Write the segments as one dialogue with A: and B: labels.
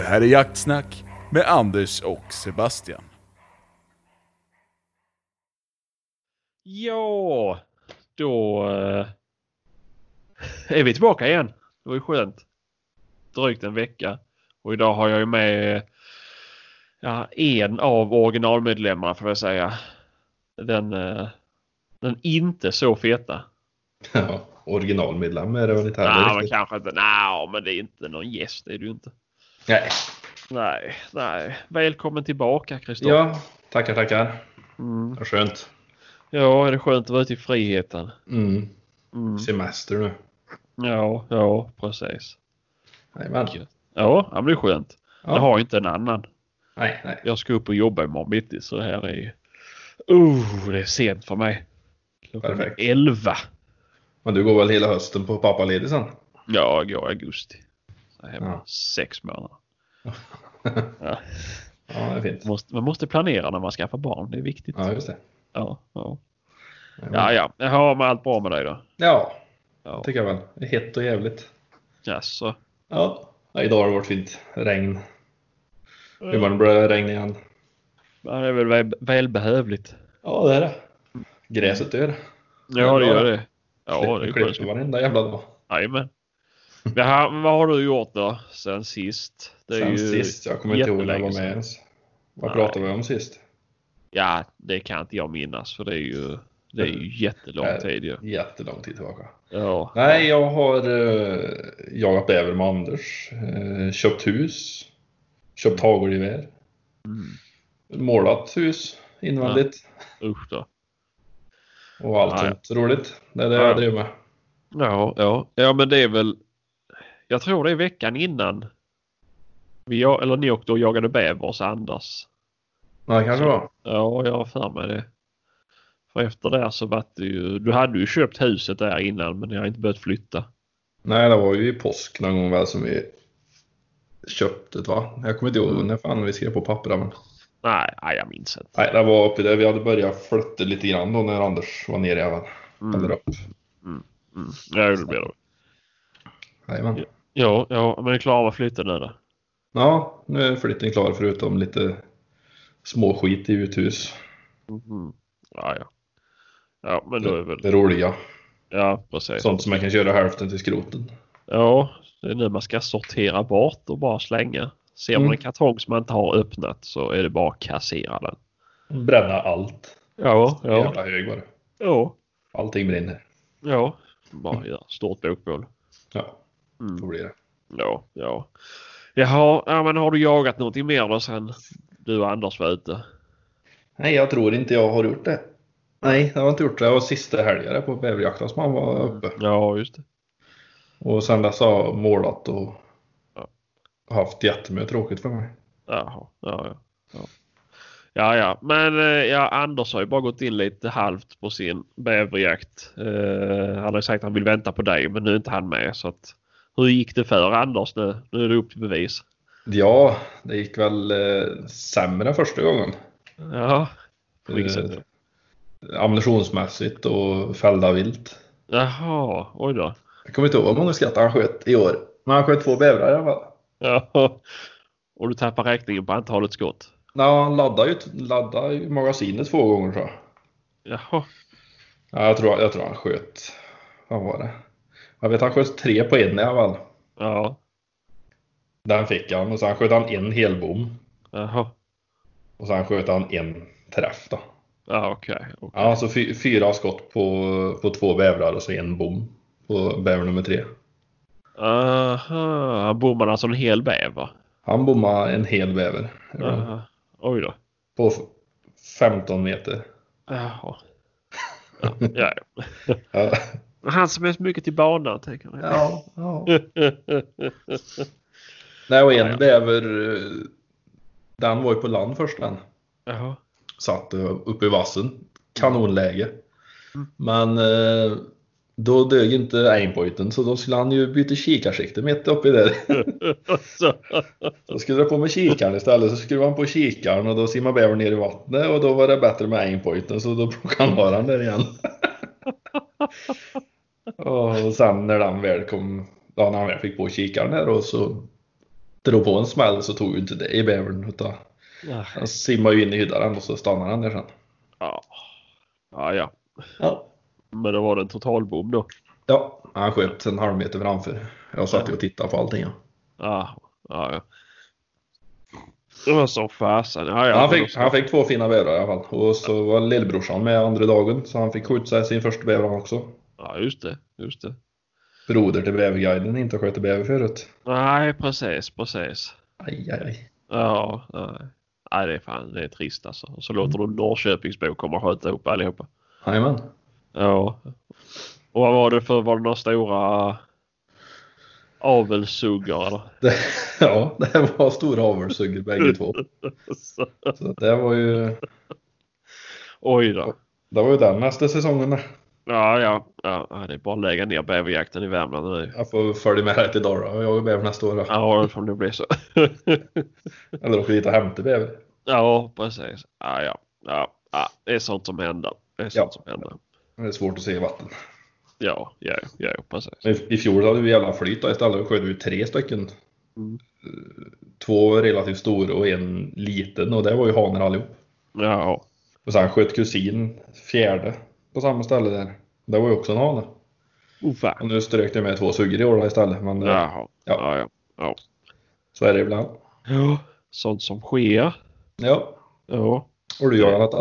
A: här är Jaktsnack med Anders och Sebastian.
B: Ja, då eh, är vi tillbaka igen. Det var ju skönt. Drygt en vecka. Och idag har jag ju med eh, ja, en av originalmedlemmarna får jag säga. Den, eh, den inte så feta.
C: Ja, originalmedlem är det väl inte heller
B: Nej, men
C: riktigt.
B: kanske inte. Nej, men det är inte någon gäst. Det är du inte.
C: Nej.
B: Nej, nej. Välkommen tillbaka Kristoffer.
C: Ja, tackar tackar.
B: Mm.
C: Vad skönt.
B: ja, är det skönt att vara ute i friheten?
C: Mm.
B: Mm.
C: Semester nu.
B: Ja, ja, precis.
C: Jajamän.
B: Gött. Ja, ja, men det är skönt. Jag
C: Ja.
B: har ju inte en annan.
C: Nej, nej.
B: Jag ska upp och jobba imorgon bitti så det här är ju... Oh, det är sent för mig. Klockan är
C: Perfekt.
B: 11.
C: Men du går väl hela hösten på pappaledig sen?
B: Ja, jag går i augusti. Så hemma
C: Ja.
B: sex månader. Ja.
C: Ja, det är fint.
B: Måste, man måste planera när man skaffar barn. Det är viktigt.
C: Ja, just det.
B: Ja, ja.
C: Jajamän.
B: ja. ja. Jag har med allt bra med dig då?
C: Ja,
B: Ja.
C: tycker jag väl. Det är hett och jävligt.
B: Jaså?
C: Ja. ja, idag har det varit fint. Regn. Imorgon blir det regn igen.
B: Ja, det är väl väl, välbehövligt.
C: Ja, det är det. Gräset dör.
B: Ja,
C: är
B: det
C: bra.
B: gör det. Ja, det är
C: Klipper-
B: skönt.
C: Klipper varenda jävla dag.
B: Jajamän. Det här- Vad har du gjort då sen sist? Det är
C: Sen
B: ju...
C: sist. Jag kommer inte ihåg när jag var
B: jättelänge
C: med
B: sedan.
C: ens. Vad
B: Nej.
C: pratade vi om sist?
B: Ja, det kan inte jag minnas för det är ju, det är ju jättelång
C: Nej.
B: tid ju.
C: Jättelång tid tillbaka.
B: Ja.
C: Nej, jag har eh, jagat bäver med Anders, eh, köpt hus, köpt hagelgevär,
B: Mm.
C: målat hus invändigt
B: Usch då.
C: och allt
B: Ja, ja.
C: sånt roligt. Det är det
B: Ja, ja.
C: jag driver med.
B: Ja, ja. ja, men det är väl. Jag tror det är veckan innan. Vi, ja- eller ni åkte och jagade bäver hos Anders.
C: Ja, det kanske det var.
B: Ja, jag har för mig det. För efter det så var det ju. Du hade ju köpt huset där innan men jag har inte börjat flytta.
C: Nej, det var ju i påsk någon gång väl som vi köpte det va? Jag kommer inte ihåg
B: Mm.
C: när fan vi skrev på pappren. Men...
B: Nej, nej jag minns inte.
C: Nej, det var uppe där vi hade börjat flytta lite grann då när Anders var nere även. Eller
B: Mm,
C: upp.
B: mm. Ja, det blir det.
C: Jajamän.
B: Ja, ja, men är klar med flytten nu då?
C: Ja, nu är flytten klar förutom lite småskit i uthus.
B: Mhm. Ja, ja. Ja, men då är väl.
C: Det roliga.
B: Ja, precis.
C: Sånt som man kan köra hälften till skroten.
B: Ja, det är nu man ska sortera bort och bara slänga. Ser man
C: Mm.
B: en kartong som man inte har öppnat så är det bara att kassera den.
C: Bränna allt.
B: Ja, ja,
C: Jävla hög var det.
B: ja.
C: Allting brinner.
B: ja. Bara göra stort bokbål.
C: Ja, då
B: Mm.
C: blir det.
B: Ja, ja. Jaha, ja, men har du jagat någonting mer då sen du och Anders var ute?
C: Nej, jag tror inte jag har gjort det. Nej, jag har inte gjort det. Jag var sista helgare på bäverjakten som han var
B: Mm.
C: uppe.
B: Ja, just det.
C: Och sen dess har jag målat och
B: Ja.
C: haft jättemycket tråkigt för mig.
B: Jaha, ja, ja. ja. Ja, ja, men eh, ja, Anders har ju bara gått in lite halvt på sin bäverjakt. Eh, han har ju sagt att han vill vänta på dig, men nu är inte han med. Så att, hur gick det för Anders nu? Nu är det upp till bevis.
C: Ja, det gick väl eh, sämre första gången.
B: Ja, på vilket
C: Eh,
B: sätt? då?
C: Ammunitionsmässigt och fällda vilt.
B: Jaha, oj då.
C: Jag kommer inte ihåg hur många skrattar han sköt i år. Men han sköt två bävrar i alla fall.
B: Ja. Och du tappar räkningen på antalet skott?
C: Nej, han laddade ju, laddade ju magasinet två gånger tror jag.
B: Jaha,
C: Ja, jag, tror, jag tror han sköt... Vad var det? Jag vet han sköt tre på en i alla fall.
B: ja,
C: Den fick han och sen sköt han en helbom.
B: jaha,
C: Och sen sköt han en träff då.
B: ja okej. okej.
C: Ja, så fy, fyra skott på, på två bävrar och så en bom på bäver nummer tre.
B: Aha, han bommade alltså en hel bäver?
C: Han bommade en hel bäver.
B: Aha. Oj då.
C: På f- 15 meter.
B: Jaha. Ja, ja.
C: Ja,
B: ja. Han som är så mycket till banan tänker jag.
C: ja. ja. Nej,
B: Ja,
C: och
B: ja.
C: en bäver, eh, den var ju på land först den.
B: Jaha.
C: satt eh, uppe i vassen. Kanonläge.
B: Mm.
C: Men eh, då dög inte aimpointen så då skulle han ju byta kikarsikte mitt uppe i det.
B: Så.
C: Då skulle det på med kikaren istället. Så skruvade han på kikaren och då simmade bävern ner i vattnet och då var det bättre med aimpointen så då plockade han av den där igen. och sen när den väl kom, ja, när han väl fick på kikaren där och så drog på en smäll så tog ju inte det i bävern utan
B: Ja,
C: han simmade ju in i hyddan och så stannade han där sen.
B: ja. ja.
C: Ja.
B: Men då var det en totalbom då.
C: Ja, han sköt en halv meter framför. Jag satt ju och tittade på allting. Ja.
B: Ja, ja, ja. Det var så fasen. Ja, ja,
C: Han
B: men
C: fick,
B: då-
C: han fick två fina bävrar i alla fall. Och så var lillbrorsan med andra dagen så han fick skjuta sig sin första bäver han också.
B: Ja, just det. Just det.
C: Broder till bäverguiden inte sköt bäver förut.
B: Nej, precis, precis.
C: Aj, aj, aj.
B: Ja, nej. Nej, det är fan det är trist alltså. Och så låter du Norrköpingsbo komma och sköta ihop allihopa.
C: Jajamän.
B: Ja. Och vad var det för, var det några stora avelssuggor eller?
C: Det- Ja, det var stora avelsugger bägge två.
B: Så,
C: Så det var ju,
B: Oj då.
C: det var ju den nästa säsongen.
B: Ja, ja, ja, ja, det är bara att lägga ner bäverjakten i Värmland nu.
C: Jag får följa med här till Dara och jag är bäver nästa år. då.
B: Ja, det får nog bli så.
C: Eller åker dit och hämtar bäver.
B: Ja, precis. Ja, ja, ja, ja, det är sånt som händer. Det är sånt
C: Ja.
B: som händer.
C: Det är svårt att se i vatten.
B: Ja, ja, ja, precis.
C: I, i fjol hade vi jävla flyt då istället. Då sköt vi tre stycken.
B: Mm.
C: Eh, Två relativt stora och en liten och det var ju hanar allihop.
B: Ja,
C: Och sen sköt kusin fjärde på samma ställe där. Det var ju också en hane.
B: oh, fan.
C: Och nu strök det med två suggor i år då istället. Men eh,
B: Jaha. Ja,
C: Ja.
B: ja, ja.
C: så är det ibland.
B: ja. Sånt som sker.
C: Ja,
B: Ja.
C: och du gör detta?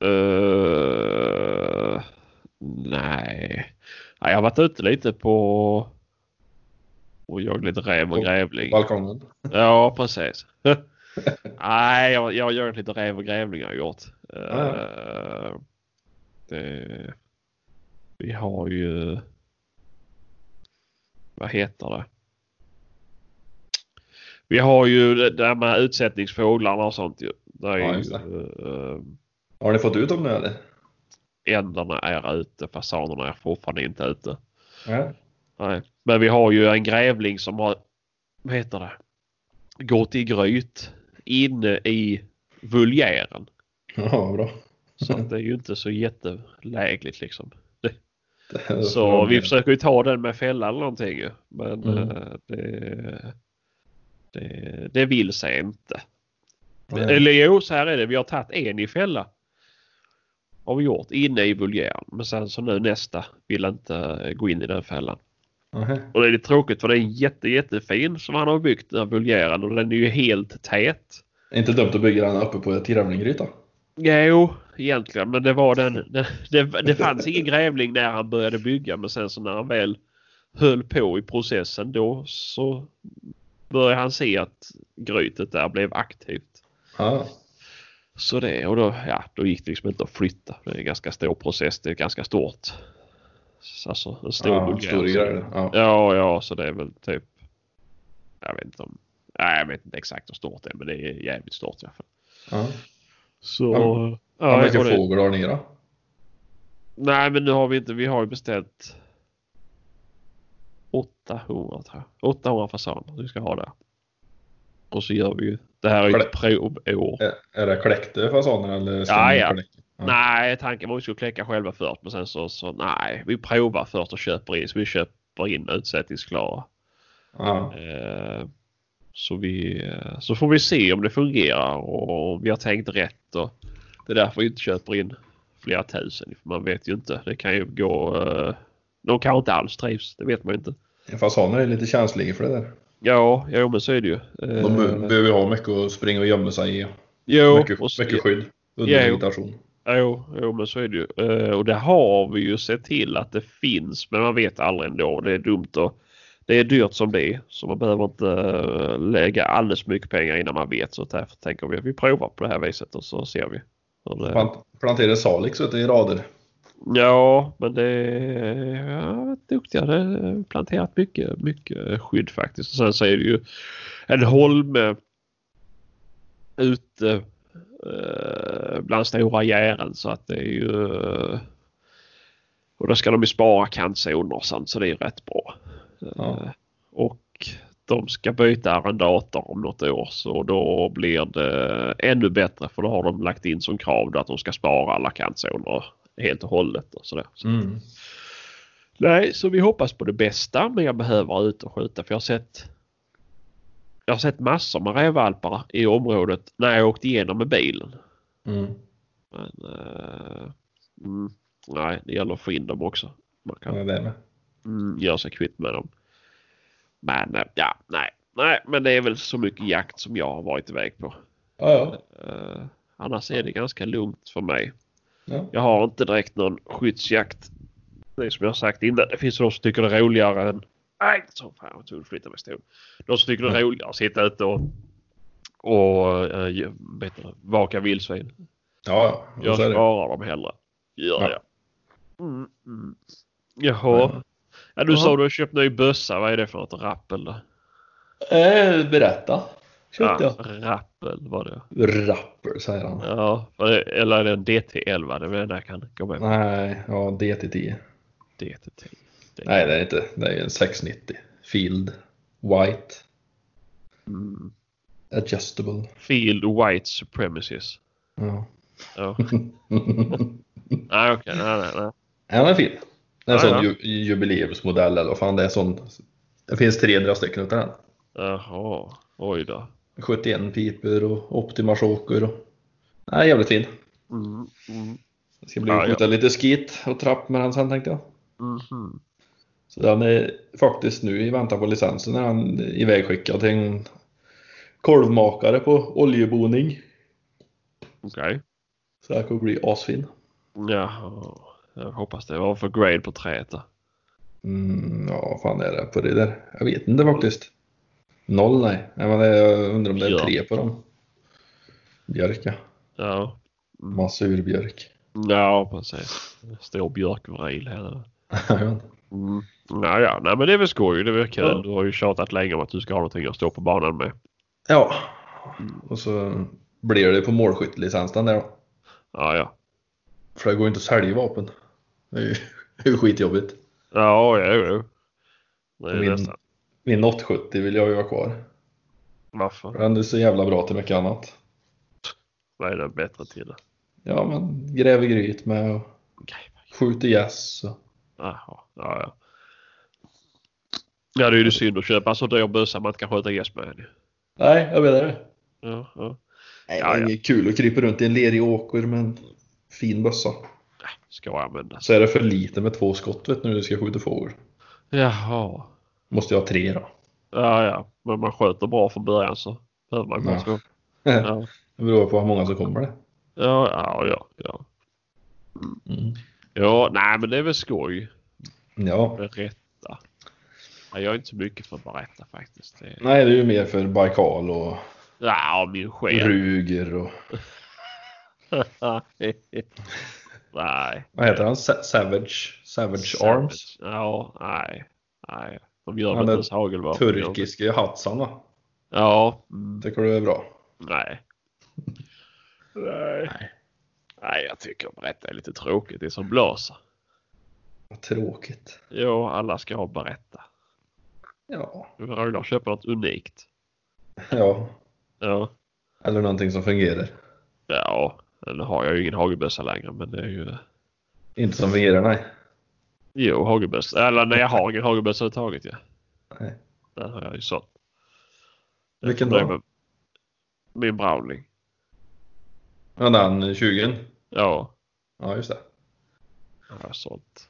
B: Eh, nej. Ja, jag har varit ute lite på och jag lite räv och
C: På
B: grävling.
C: Balkongen?
B: Ja, precis. Nej, jag, jag har gjort lite räv och grävling har jag gjort.
C: Ah,
B: Eh, det, vi har ju... Vad heter det? Vi har ju det där med utsättningsfåglarna och sånt ju. Där är
C: Ja,
B: ju
C: just
B: eh,
C: Har ni fått ut dem nu eller?
B: änderna är ute, fasanerna är fortfarande inte ute.
C: Nej.
B: Nej. Men vi har ju en grävling som har, vad heter det, gått i gryt inne i vulgären.
C: Ja, vad bra.
B: Så att det är ju inte så jättelägligt liksom.
C: Det-
B: Så vi försöker ju ta den med fälla eller någonting ju. Men
C: Mm.
B: eh, det, det, det vill sig inte.
C: Nej.
B: Eller jo, så här är det. Vi har tagit en i fälla. Har vi gjort inne i vulgären. Men sen så nu nästa vill inte gå in i den fällan.
C: Nej.
B: Och det är lite tråkigt för det är en jätte, jättefin som han har byggt den här vulgären och den är ju helt tät.
C: Inte dumt att bygga den uppe på ett grävlinggryta.
B: Jo, egentligen, men det var den. den det, det fanns ingen grävling när han började bygga men sen så när han väl höll på i processen då så började han se att grytet där blev aktivt.
C: Ja.
B: Så det och då, ja, då gick det liksom inte att flytta. Det är en ganska stor process. Det är ganska stort. Så Alltså en stor
C: Ja,
B: vulgär.
C: stor
B: Så-
C: grej. Ja.
B: Ja, ja, så det är väl typ. Jag vet inte om. Nej, jag vet inte exakt hur stort det är, men det är jävligt stort i alla fall.
C: Ja.
B: Så.
C: Ja, Hur
B: Ja, jag
C: mycket
B: får det.
C: fåglar har ni då?
B: Nej, men nu har vi inte. Vi har ju beställt. 800 tror jag. 800 fasaner vi ska ha där. Och så gör vi ju. Det här är ju ett provår.
C: Är- Är det kläckte fasaner eller? ska
B: Ja,
C: ni
B: ja.
C: kläcka?
B: Nej, tanken var att vi skulle kläcka själva först, men sen så, så nej, vi provar först och köper in. Så vi köper in utsättningsklara.
C: Ja.
B: Eh, Så, vi, eh, så får vi se om det fungerar och om vi har tänkt rätt. Och det är därför vi inte köper in flera tusen. För man vet ju inte. Det kan ju gå... eh, De kanske inte alls trivs. Det vet man ju inte.
C: Fasaner är lite känsliga för det där.
B: Ja, jo men så är det ju. Eh,
C: De be- behöver ha mycket att springa och gömma sig i.
B: jo,
C: mycket,
B: och så-
C: mycket skydd. Under
B: Ja, jo.
C: vegetation.
B: Jo, jo, men så är det ju. Eh, Och det har vi ju sett till att det finns, men man vet aldrig ändå. Det är dumt och det är dyrt som det är, så man behöver inte eh, lägga alldeles mycket pengar innan man vet. Så därför tänker vi att vi provar på det här viset och så ser vi. hur Det...
C: Plant, plantera salix vet du, i rader.
B: Ja, men det är ja, duktiga. Det är planterat mycket, mycket skydd faktiskt. Och sen så är det ju en holme ute eh, bland stora gären så att det är ju eh, och då ska de ju spara kantzoner och sånt så det är ju rätt bra.
C: Ja.
B: Eh. Och de ska byta arrendator om något år så då blir det ännu bättre för då har de lagt in som krav då att de ska spara alla kantzoner helt och hållet och sådär. Så
C: Mm.
B: Nej, så vi hoppas på det bästa, men jag behöver ut och skjuta för jag har sett Jag har sett massor med rävvalpar i området när jag åkte igenom med bilen.
C: Mm.
B: Men, eh, mm, nej, det gäller att få in dem också. Man kan
C: Ja, det är med.
B: mm, göra sig kvitt med dem. Men eh, ja, nej, nej, men det är väl så mycket jakt som jag har varit iväg på.
C: Ja, ja.
B: Eh, annars är det ganska lugnt för mig.
C: ja.
B: Jag har inte direkt någon skyddsjakt. Det är som jag har sagt innan. Det finns de som tycker det är roligare än... Nej, så fan jag tror flytta mig stol. De som tycker
C: Mm.
B: det är roligare att sitta ute och, och eh, ge- vet du, vaka vildsvin.
C: ja, ja.
B: Jag
C: Så är det.
B: sparar dem hellre. Gör
C: Ja.
B: jag. Mm, mm. Jaha. Ja, du
C: Jaha.
B: sa du har köpt ny bössa. Vad är det för något? Rappel? då?
C: Eh, berätta. Köpte
B: Ja,
C: jag.
B: rappel var det.
C: Rapper, säger han.
B: Ja, för det- eller är det en DT11? Det är väl den jag kan gå med på.
C: Nej, ja, DT10.
B: DT10.
C: Nej, det är inte. Det är en 690. Field. White.
B: Mm.
C: Adjustable.
B: Field White Supremacies.
C: Ja.
B: Ja. Nej, okej. Nej, nej, nej.
C: Ja, den är fin. Det är
B: Ja,
C: en sån
B: ja.
C: ju- jubileumsmodell eller vad fan det är. Sån, det finns 300 stycken utav den.
B: Jaha. Oj då.
C: 71 pipor och optimaschocker. Och... Nej, jävligt fin.
B: Mm. Mm.
C: Det ska bli
B: Ja,
C: att skjuta lite skit och trapp med den sen tänkte jag.
B: Mhm.
C: Så den är faktiskt nu i väntan på licensen är den ivägskickad till en korvmakare på oljeboning.
B: Okej.
C: Så det här kommer bli asfin.
B: Jaha. Jag hoppas det var för grade på träet då.
C: Mm, ja, vad fan är det på det där? Jag vet inte faktiskt. Noll nej. nej men det, jag undrar om det är
B: Ja.
C: tre på dem. Björk ja.
B: Ja.
C: Massurbjörk.
B: Ja, precis. Stor björkvril här. då.
C: Jajamän.
B: Mm. Ja, ja. Nej, men det är väl skoj. Det är väl kul.
C: Ja.
B: Du har ju tjatat länge om att du ska ha någonting att stå på banan med.
C: ja. Och så blir det på målskyttelicensen där då.
B: Ja, ja.
C: För det går ju inte att sälja vapen. Det är ju, det är ju skitjobbigt.
B: Ja, jo, jo. Det är
C: Min-
B: nästan.
C: Min 870 vill jag ju ha kvar.
B: Varför?
C: Den är så jävla bra till mycket annat.
B: Vad är det bättre till? det?
C: Ja, men gräver gryt med och
B: Okej.
C: skjuter gäss. och-
B: Jaha, ja, ja. Ja, det är ju synd att köpa en så dyr bössa man inte kan sköta gäss med henne.
C: Nej, jag menar det.
B: Ja, ja.
C: Nej,
B: Ja,
C: det är
B: ja.
C: inget kul att krypa runt i en lerig åker med en fin bössa.
B: Ska användas.
C: Så är det för lite med två skott vet du, när du ska skjuta fågel.
B: Jaha.
C: Måste jag ha tre då?
B: Ja, ja. Men man sköter bra från början så behöver man
C: Ja.
B: gå så.
C: det
B: Ja,
C: beror på hur många som kommer det.
B: ja, ja. ja, ja.
C: Mm.
B: Ja, nej men det är väl skoj.
C: Ja.
B: Berätta. Ja, jag är inte så mycket för att berätta faktiskt. Det...
C: Nej, det är ju mer för Baikal och
B: Ja, min själ.
C: Ruger och
B: nej.
C: vad heter han? Sa- Savage? Savage Arms?
B: Ja, nej. nej. De gör
C: Han
B: väl inte
C: är
B: ens hagelvapen.
C: Turkiske Hatsan va?
B: Ja. Mm,
C: Tycker du det är bra?
B: nej. nej. Nej, jag tycker berätta är lite tråkigt. Det är som blåsa.
C: Vad tråkigt.
B: Jo, alla ska ha berätta.
C: Ja.
B: Det vore roligt att köpa något unikt.
C: ja.
B: Ja.
C: Eller någonting som fungerar.
B: Ja, nu har jag ju ingen hagelbössa längre men det är ju...
C: Inte som fungerar nej.
B: Jo, hagelbössa. Eller nej, jag har ingen hagelbössa överhuvudtaget ja.
C: Nej.
B: Den har jag ju sålt.
C: Vilken
B: Nej,
C: då?
B: men- Min Browning.
C: Ja, den 20.
B: Ja,
C: Ja, just det.
B: har jag sålt.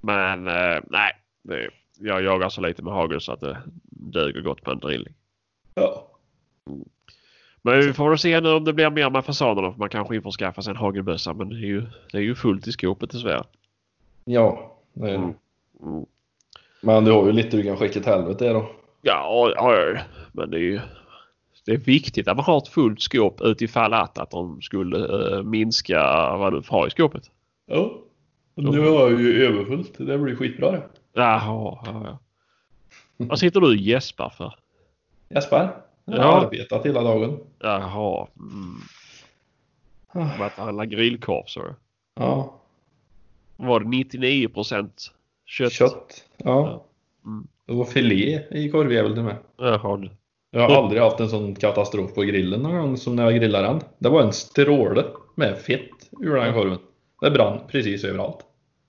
B: Men eh, nej, det, jag jagar så lite med hagel så att det duger gott på en drilling.
C: Ja.
B: Men vi får väl se nu om det blir mer med fasaderna för man kanske införskaffar sig en hagelbössa men det är ju, det är ju fullt i skåpet dessvärre.
C: Ja, det är...
B: Mm. Mm.
C: Men du har ju lite du kan skicka till helvete då.
B: Ja, ja, ja, men det är ju det är viktigt att man har ett fullt skåp utifall att, att de skulle eh, minska vad du har i skåpet.
C: Ja.
B: Nu
C: har jag ju överfullt. Det blir skitbra det.
B: Jaha, ja, ja. Vad sitter du och gäspar för?
C: Jesper? Jag
B: Ja.
C: har arbetat hela dagen.
B: Jaha. Mm. Med att handla grillkorv så. är
C: Ja.
B: det. Var det 99 kött?
C: Kött. Ja.
B: Ja. Mm.
C: Det var filé i korvjäveln med.
B: Jaha. du.
C: Jag har aldrig haft en sån katastrof på grillen någon gång som när jag grillade den. Det var en stråle med fett ur den korven. Det brann precis överallt.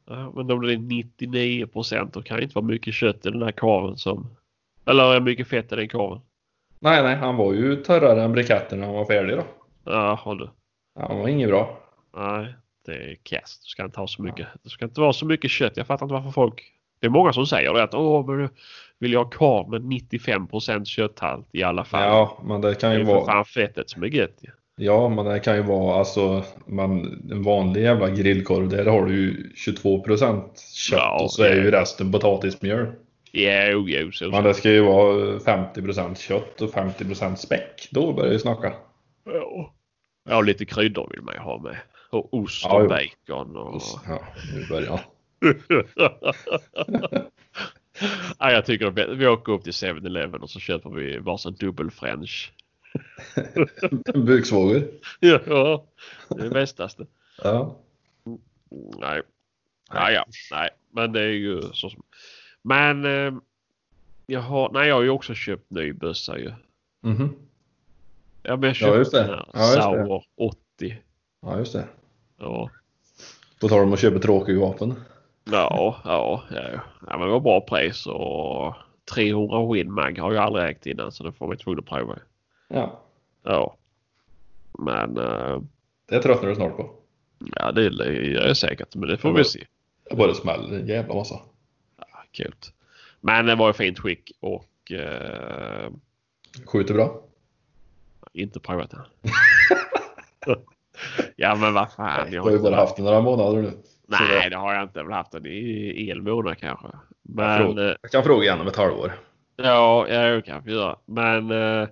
B: Ja, men om det är 99 då kan det inte vara mycket kött i den här korven som... Eller är det mycket fett i den korven?
C: Nej, nej, han var ju torrare än briketten när han var färdig då.
B: Jaha du.
C: Han var inget bra.
B: Nej, det är kast. Du ska inte ha så mycket. Det ska inte vara så mycket kött. Jag fattar inte varför folk. Det är många som säger det att åh, men nu vill jag ha korv med 95 kötthalt i alla fall.
C: Ja, men det kan
B: det är ju
C: ju
B: för
C: vara...
B: fan fettet som är gött ju.
C: Ja, men det kan ju vara alltså man, en vanlig jävla grillkorv. Där har du ju 22% kött
B: Ja,
C: och så är
B: det-
C: ju resten potatismjöl.
B: Jo, jo, så,
C: Men
B: så.
C: det ska ju vara 50% kött och 50% späck. Då börjar vi snacka.
B: Ja. Ja, lite kryddor vill man ju ha med. Och ost
C: Ja,
B: och
C: jo.
B: bacon och...
C: Ja, nu börjar jag.
B: ja, jag tycker det är bättre. vi åker upp till 7-Eleven och så köper vi varsin dubbel french.
C: Buksvågor.
B: Ja, det är bästaste.
C: Ja.
B: Nej. Ja, ja, nej, men det är ju så som... Men eh, jag har, nej, jag har ju också köpt ny bössa ju.
C: Mhm.
B: Ja, men jag köpte
C: just det.
B: den här
C: Ja, just det.
B: Sauer 80.
C: Ja, just det.
B: Ja.
C: På tal om att köpa tråkiga vapen.
B: Ja, ja, ja. ja men det var bra pris och 300 Winmag har jag aldrig ägt innan så det får vi tvungna att prova.
C: Ja,
B: Ja. Men eh,
C: det tröttnar du snart på.
B: ja, det gör jag säkert. Men det får
C: Ja,
B: vi
C: men-
B: se.
C: Jag bara smäller en jävla massa.
B: Ja, kul. Men det var i fint skick och eh,
C: Skjuter bra.
B: inte provat den. ja, men vad fan.
C: Du
B: Jag
C: har
B: har
C: ju
B: inte
C: bara haft den några månader nu.
B: Nej, det har jag inte. Jag har väl haft den i en månad kanske. Men
C: Fråga.
B: eh,
C: Jag kan fråga igen om ett halvår.
B: Ja, ja, det kan vi göra. Men eh,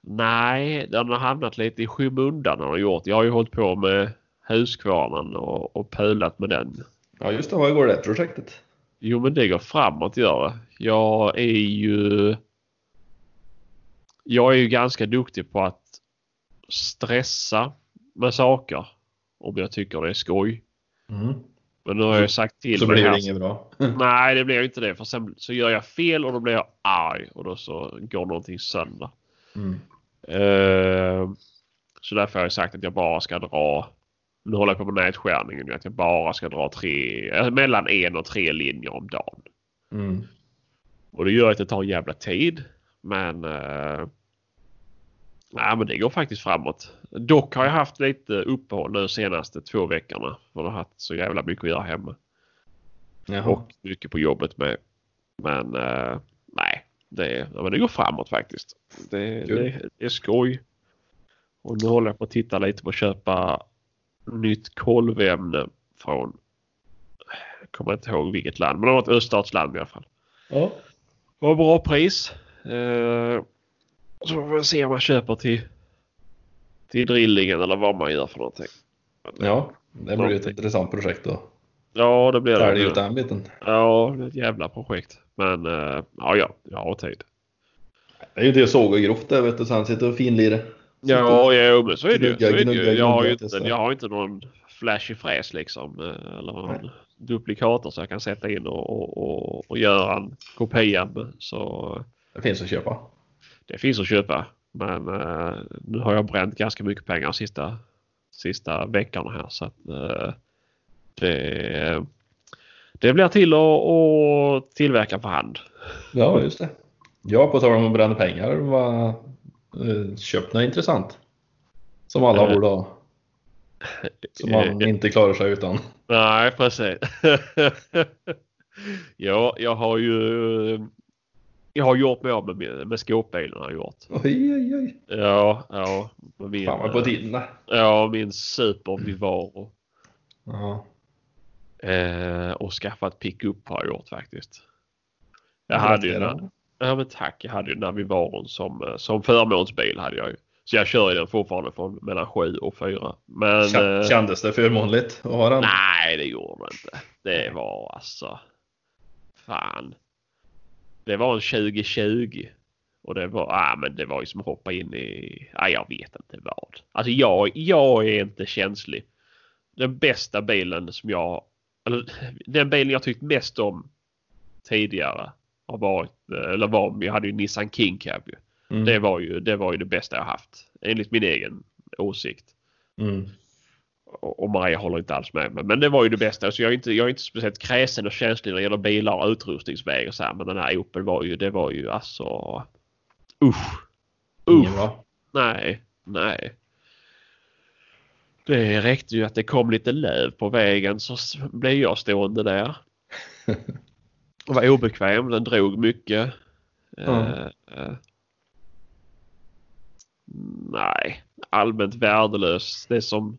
B: nej, den har hamnat lite i skymundan har den gjort. Jag har ju hållit på med huskvarnen och, och pölat med den.
C: Ja, just det. Vad går det projektet?
B: Jo, men det går framåt gör det. Jag är ju... Jag är ju ganska duktig på att stressa med saker om jag tycker det är skoj.
C: Mm.
B: Men nu har jag ju sagt till
C: Så
B: mig
C: blir
B: här-
C: det inget bra.
B: Nej, det blir ju inte det. För sen så gör jag fel och då blir jag arg och då så går någonting sönder.
C: Mm.
B: Eh, Så därför har jag sagt att jag bara ska dra. Nu håller jag på med nätskärningen. Att jag bara ska dra tre, eh, mellan en och tre linjer om dagen.
C: Mm.
B: Och det gör att det tar en jävla tid. Men, eh, nej, men det går faktiskt framåt. Dock har jag haft lite uppehåll nu senaste två veckorna. För jag har haft så jävla mycket att göra hemma.
C: Jaha.
B: Och mycket på jobbet med. Men eh, nej, det, ja, men det går framåt faktiskt. Det,
C: Kul.
B: det, det är skoj. Och nu håller jag på att titta lite på att köpa nytt kolvämne från, jag kommer inte ihåg vilket land, men det var ett öststatsland i alla fall.
C: ja.
B: Det var bra pris. Eh, så får vi se om man köper till, till drillingen eller vad man gör för någonting.
C: ja, det blir ju ett intressant projekt då.
B: Ja, det blir
C: Där är
B: det.
C: ju den biten.
B: Ja, det är ett jävla projekt. Men eh, ja, ja, jag har tid.
C: Det är ju det att såga grovt där vet du. Sen sitter och finlira.
B: Ja, jo, men så är det ju. Så
C: Gnugga,
B: är det
C: gnugga,
B: ju. Jag, har ju
C: gnugga
B: inte,
C: tills det-
B: jag har inte någon flashig fräs liksom. eh, Eller någon duplikator så jag kan sätta in och, och, och, och göra en kopia. med. Så
C: Det finns att köpa.
B: det finns att köpa. Men eh, nu har jag bränt ganska mycket pengar sista, sista veckorna här. Så att, eh, det, det blir till att, att tillverka för hand.
C: Ja, just det. Ja, på tal om att bränna pengar. Vad, eh, köp något intressant. Som alla
B: Eh.
C: borde ha. Som man inte klarar sig utan.
B: Nej, precis. ja, jag har ju... Jag har gjort mig av med, min- med skåpbilen har jag gjort.
C: Oj, oj, oj.
B: Ja, ja. med Min, eh,
C: Fan vad på tiden det.
B: Ja, min Super Vivaro.
C: Ja.
B: Eh, och skaffat pickup har jag gjort faktiskt. Jag hade ju den. Ja, men tack. Jag hade ju Navivaron som, eh, som förmånsbil hade jag ju. Så jag kör ju den fortfarande från mellan 7 och 4. Men...
C: Kä-
B: eh,
C: Kändes det förmånligt att ha den?
B: Nej, det gjorde det inte. Det var alltså... Fan. Det var en 2020. Och det var, ah, men det var ju som att hoppa in i, ah, jag vet inte vad. Alltså jag, jag är inte känslig. Den bästa bilen som jag, eller den bilen jag tyckt mest om tidigare har varit, eller var, jag hade ju Nissan King Cab ju.
C: Mm.
B: Det var ju, det var ju det bästa jag haft. Enligt min egen åsikt.
C: Mm.
B: Och och Maria håller inte alls med mig. Men det var ju det bästa. Så jag är inte, jag är inte speciellt kräsen och känslig när det gäller bilar och utrustningsväg och så här. Men den här Opel var ju, det var ju alltså... Usch!
C: Ingen
B: Uff.
C: va?
B: Nej, nej. Det räckte ju att det kom lite löv på vägen så s- blev jag stående där. Och var obekväm, den drog mycket.
C: Ja.
B: Eh, eh. nej, allmänt värdelös. Det som,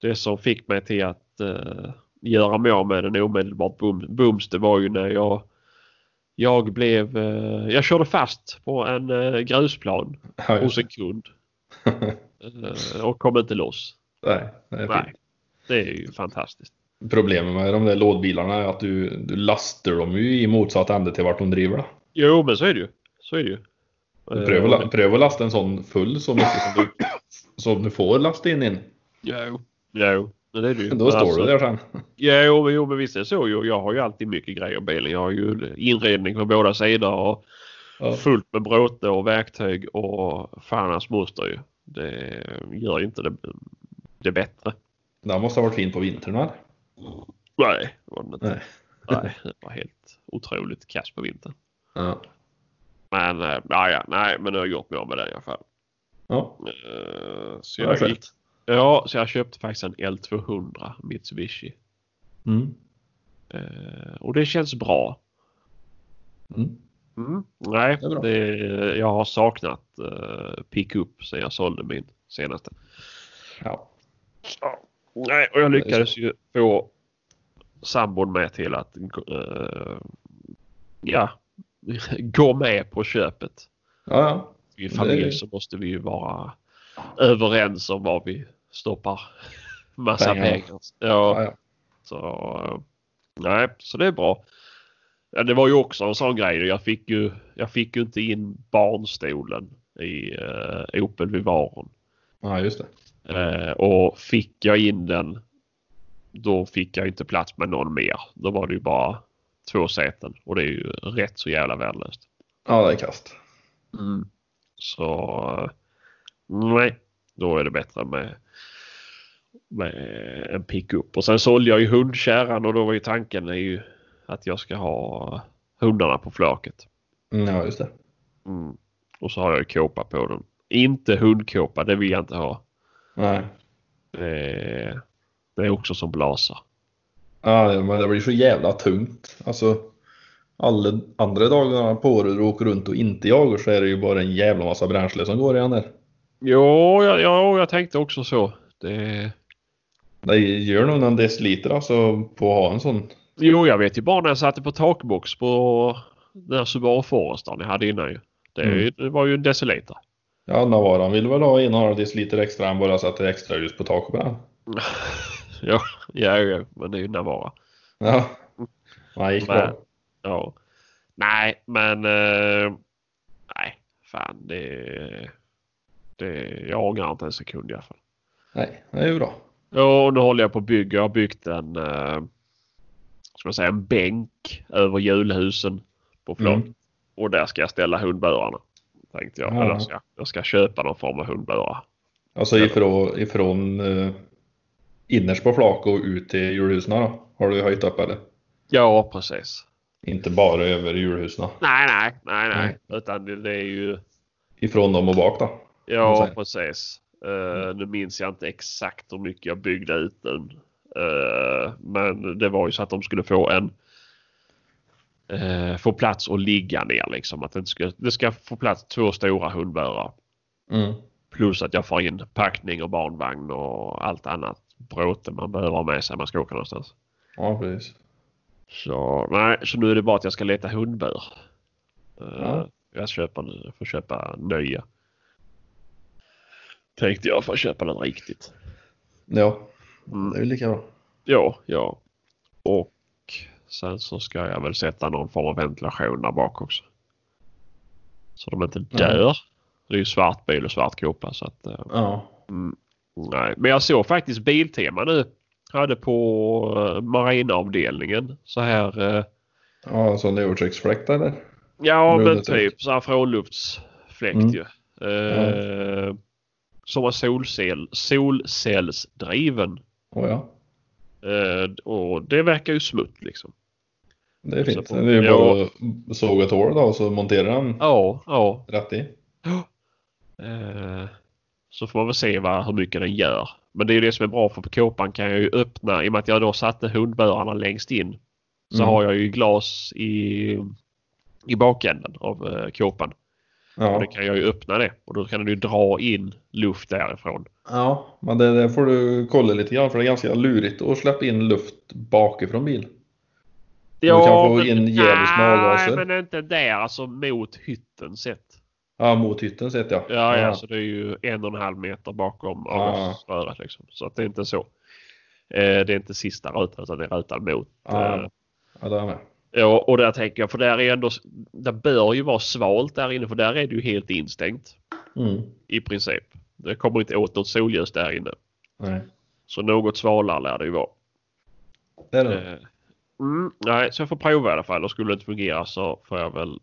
B: det som fick mig till att eh, göra mig av med den omedelbart bum, bums det var ju när jag jag blev, eh, jag körde fast på en eh, grusplan
C: Ja,
B: hos
C: just.
B: en kund. Eh, Och kom inte loss.
C: Nej, det är fint.
B: Nej. Det är ju fantastiskt.
C: Problemet med de där lådbilarna är att du, du lastar dem ju i motsatt ände till vart de driver. då.
B: Jo, men så är det ju. Så är det ju. Eh,
C: Pröv att, la- pröv att lasta en sån full så mycket som du, som du får lasta in in.
B: Jo. Jo, men det är det ju.
C: Då står
B: Alltså,
C: du där sen.
B: Jo, men- jo, men visst är det så. Jo, jag har ju alltid mycket grejer i bilen. Jag har ju inredning på båda sidor och
C: Ja.
B: fullt med bråte och verktyg och fan hans moster ju. Det gör ju inte det, det bättre.
C: Den måste ha varit fin på vintern va?
B: Nej, det var det inte.
C: Nej.
B: Nej, det var helt otroligt kass på vintern.
C: Ja.
B: Men, eh, ja, ja, nej, men nu har jag gjort mig av med den i alla fall.
C: ja.
B: Eh, Så
C: Ja, det är
B: jag
C: skönt.
B: gick, ja, så jag köpte faktiskt en L200 Mitsubishi.
C: Mm.
B: Eh, Och det känns bra.
C: Mm.
B: Nej,
C: Det är bra.
B: det jag har saknat eh, pickup sen jag sålde min senaste.
C: ja.
B: Nej, och jag lyckades ju få sambon med till att eh, ja, gå med på köpet.
C: Ja, ja.
B: I
C: Det-
B: familj så måste vi ju vara överens om vad vi stoppar massa
C: Pengar.
B: pengar. Ja,
C: ja, ja.
B: Så, eh, nej, så det är bra. Ja, det var ju också en sån grej. Jag fick ju, jag fick ju inte in barnstolen i eh, Opel Vivaren.
C: ja just det.
B: Eh, och fick jag in den då fick jag inte plats med någon mer. Då var det ju bara två säten och det är ju rätt så jävla värdelöst.
C: Ja, det är kast.
B: Mm. Så eh, nej, då är det bättre med, med en pickup. Och sen sålde jag ju hundkärran och då var ju tanken är ju att jag ska ha hundarna på flaket.
C: Mm, Ja, just det.
B: Mm. Och så har jag ju kåpa på den. Inte hundkåpa, det vill jag inte ha.
C: Nej.
B: Det, det är också som blasa.
C: Ja, men det blir så jävla tungt. Alltså, alla andra dagarna på året du åker runt och inte jagar så är det ju bara en jävla massa bränsle som går i den där.
B: Jo, ja, ja, jag tänkte också så. Det,
C: Det gör nog någon deciliter alltså på att ha en sån.
B: jo, jag vet ju bara när jag satte på takbox på den här Subaru Forestern jag hade innan ju. Det, är ju- det var ju en deciliter.
C: Ja, Navaran vill väl ha en och en halv deciliter extra än bara sätter extra ljus på taket på den.
B: ja, ja, ja, men det är ju Navara.
C: Ja. Nej, gick
B: Nej.
C: bra.
B: Ja. Nej, men... Eh, nej, fan det... det jag ångrar inte en sekund i alla fall.
C: Nej, det är ju bra.
B: Ja, och nu håller jag på att bygga. Jag har byggt en... Eh, ska man säga, en bänk över julhusen på flak.
C: Mm.
B: Och där ska jag ställa hundburarna. Tänkte jag.
C: Ja.
B: Eller ska, jag- jag ska köpa någon form av hundburar.
C: Alltså ifrån, ifrån eh, innerst på flak och ut till julhusen då? Har du höjt upp eller?
B: Ja, precis.
C: Inte bara över julhusen.
B: Nej, nej, nej, nej. Utan det, det är ju...
C: Ifrån dem och bak då? man
B: Ja,
C: säger.
B: precis. Eh, nu minns jag inte exakt hur mycket jag byggde ut den. Eh, men det var ju så att de skulle få en eh, få plats att ligga ner liksom. Att det, inte ska, det ska få plats två stora hundbärar.
C: Mm.
B: Plus att jag får in packning och barnvagn och allt annat bråte man behöver ha med sig när man ska åka någonstans.
C: Ja, precis.
B: Så, nej, så nu är det bara att jag ska leta hundbur. Eh,
C: Ja.
B: Jag köper, nu- jag får köpa nya. Tänkte jag får köpa den riktigt.
C: Ja,
B: Mm.
C: det är ju lika bra.
B: Ja, ja. Och sen så ska jag väl sätta någon form av ventilation där bak också. Så de inte dör. Det är ju svart bil och svart kåpa så att eh,
C: Ja.
B: Nej, men jag såg faktiskt Biltema nu. Hade på eh, marinavdelningen så här. eh,
C: Ja, en sån övertrycksfläkt eller?
B: Ja,
C: Rullet
B: men
C: ut.
B: typ så här frånluftsfläkt
C: Mm.
B: ju. Eh, Som var solcell, solcellsdriven.
C: Oh, ja,
B: Eh, och det verkar ju smutt liksom.
C: det är fint.
B: Så-
C: Det är ju
B: Ja.
C: bara att såga ett hål då och så montera den
B: Ja, ja.
C: rätt i.
B: Eh, Så får man väl se vad, hur mycket den gör. Men det är ju det som är bra för på kåpan kan jag ju öppna i och med att jag då satte hundbörarna längst in. Så
C: Mm.
B: har jag ju glas i, i bakänden av eh, kåpan. Och
C: Ja.
B: det kan jag ju öppna det och då kan du ju dra in luft därifrån.
C: ja, men det, det får du kolla lite grann för det är ganska lurigt att släppa in luft bakifrån bil. kan få
B: men-
C: in djävulskt med avgaser.
B: Nej, men inte där. Alltså mot hytten sett.
C: Ja, mot hytten sett ja.
B: Ja, ja. så det är ju en och en halv meter bakom avgasröret. Liksom. Så att det är inte så. Eh, det är inte sista rutan utan det är rutan mot.
C: Ja.
B: Eh,
C: ja där med.
B: Ja, och där tänker jag, för där är ändå, det bör ju vara svalt där inne för där är det ju helt instängt
C: Mm.
B: i princip. Det kommer inte åt något solljus där inne.
C: Nej,
B: Så något svalare lär det ju vara.
C: det är det.
B: Eh, Mm, nej, så jag får prova i alla fall och skulle det inte fungera så får jag väl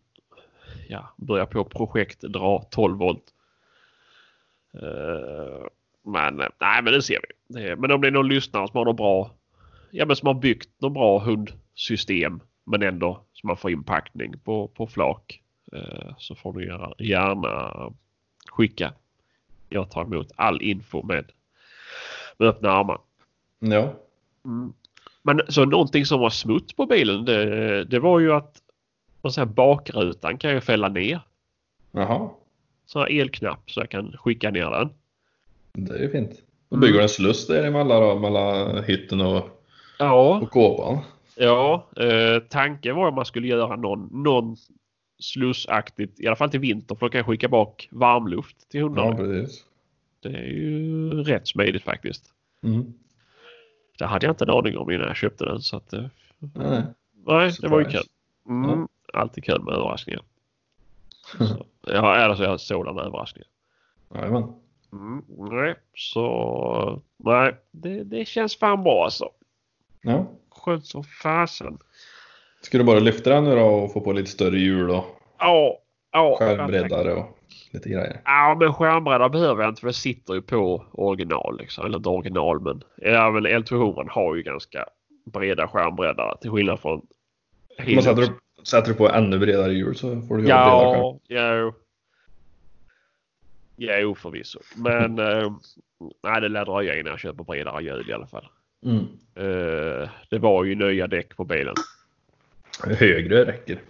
B: ja, börja på projekt dra 12 volt. Eh, men eh, nej, men det ser vi. Det, men om det är någon lyssnare som har något bra, ja men som har byggt något bra hundsystem men ändå som man får inpackning på, på flak eh, så får du gärna, gärna skicka. Jag tar emot all info med, med öppna armar.
C: Ja.
B: Mm. Men så någonting som var smutt på bilen det, det var ju att vad säger jag, bakrutan kan jag fälla ner.
C: Jaha.
B: Så här elknapp så jag kan skicka ner den.
C: Det är ju fint. Då
B: Mm.
C: bygger du en sluss där emellan då, mellan hytten och,
B: Ja,
C: och kåpan.
B: ja eh, tanken var att man skulle göra någon, någon slussaktigt, i alla fall till vinter för då kan jag skicka bak varmluft till hundarna.
C: Ja, precis.
B: Det är ju rätt smidigt faktiskt.
C: Mm.
B: Det hade jag inte en aning om innan jag köpte den så att eh,
C: Nej.
B: Nej, det var ju kul.
C: Surprise.
B: Mm, Alltid kul med överraskningar. Så, ja, alltså jag har sådana överraskningar.
C: Jajamän.
B: Mm, nej, så nej, det, det känns fan bra alltså.
C: Ja.
B: Skönt som fasen.
C: Ska du bara lyfta den nu då och få på lite större hjul och
B: Ja, ja.
C: skärmbreddare och lite grejer?
B: Ja, men skärmbreddare behöver jag inte för det sitter ju på original liksom. Eller inte original men. Ja, men L200 har ju ganska breda skärmbreddare till skillnad från
C: Men sätter du, sätter du på ännu bredare hjul så får du göra bredare själv.
B: Ja, jo. Jo, förvisso. Men eh, nej, det lär dröja innan jag köper bredare hjul i alla fall.
C: Mm.
B: Eh, det var ju nya däck på bilen.
C: Högre räcker.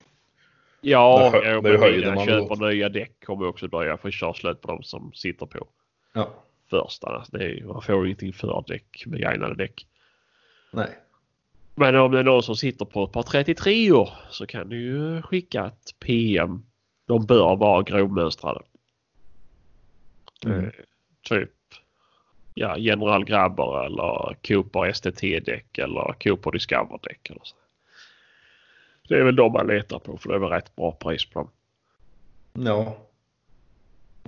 B: Ja,
C: Det är hö-
B: jo,
C: det är
B: men
C: höjden
B: innan jag
C: man
B: köper
C: går
B: nya däck kommer jag också dröja för jag kör slut på de som sitter på
C: Ja.
B: första. Alltså, det är, man får ju ingenting för däck, begagnade däck.
C: Nej.
B: Men om det är någon som sitter på ett par 33 år så kan du ju skicka ett PM. De bör vara grovmönstrade.
C: Mm.
B: typ ja, General Grabber eller Cooper STT-däck eller Cooper Discover-däck. Eller så. Det är väl de man letar på för det är väl rätt bra pris på dem.
C: Ja.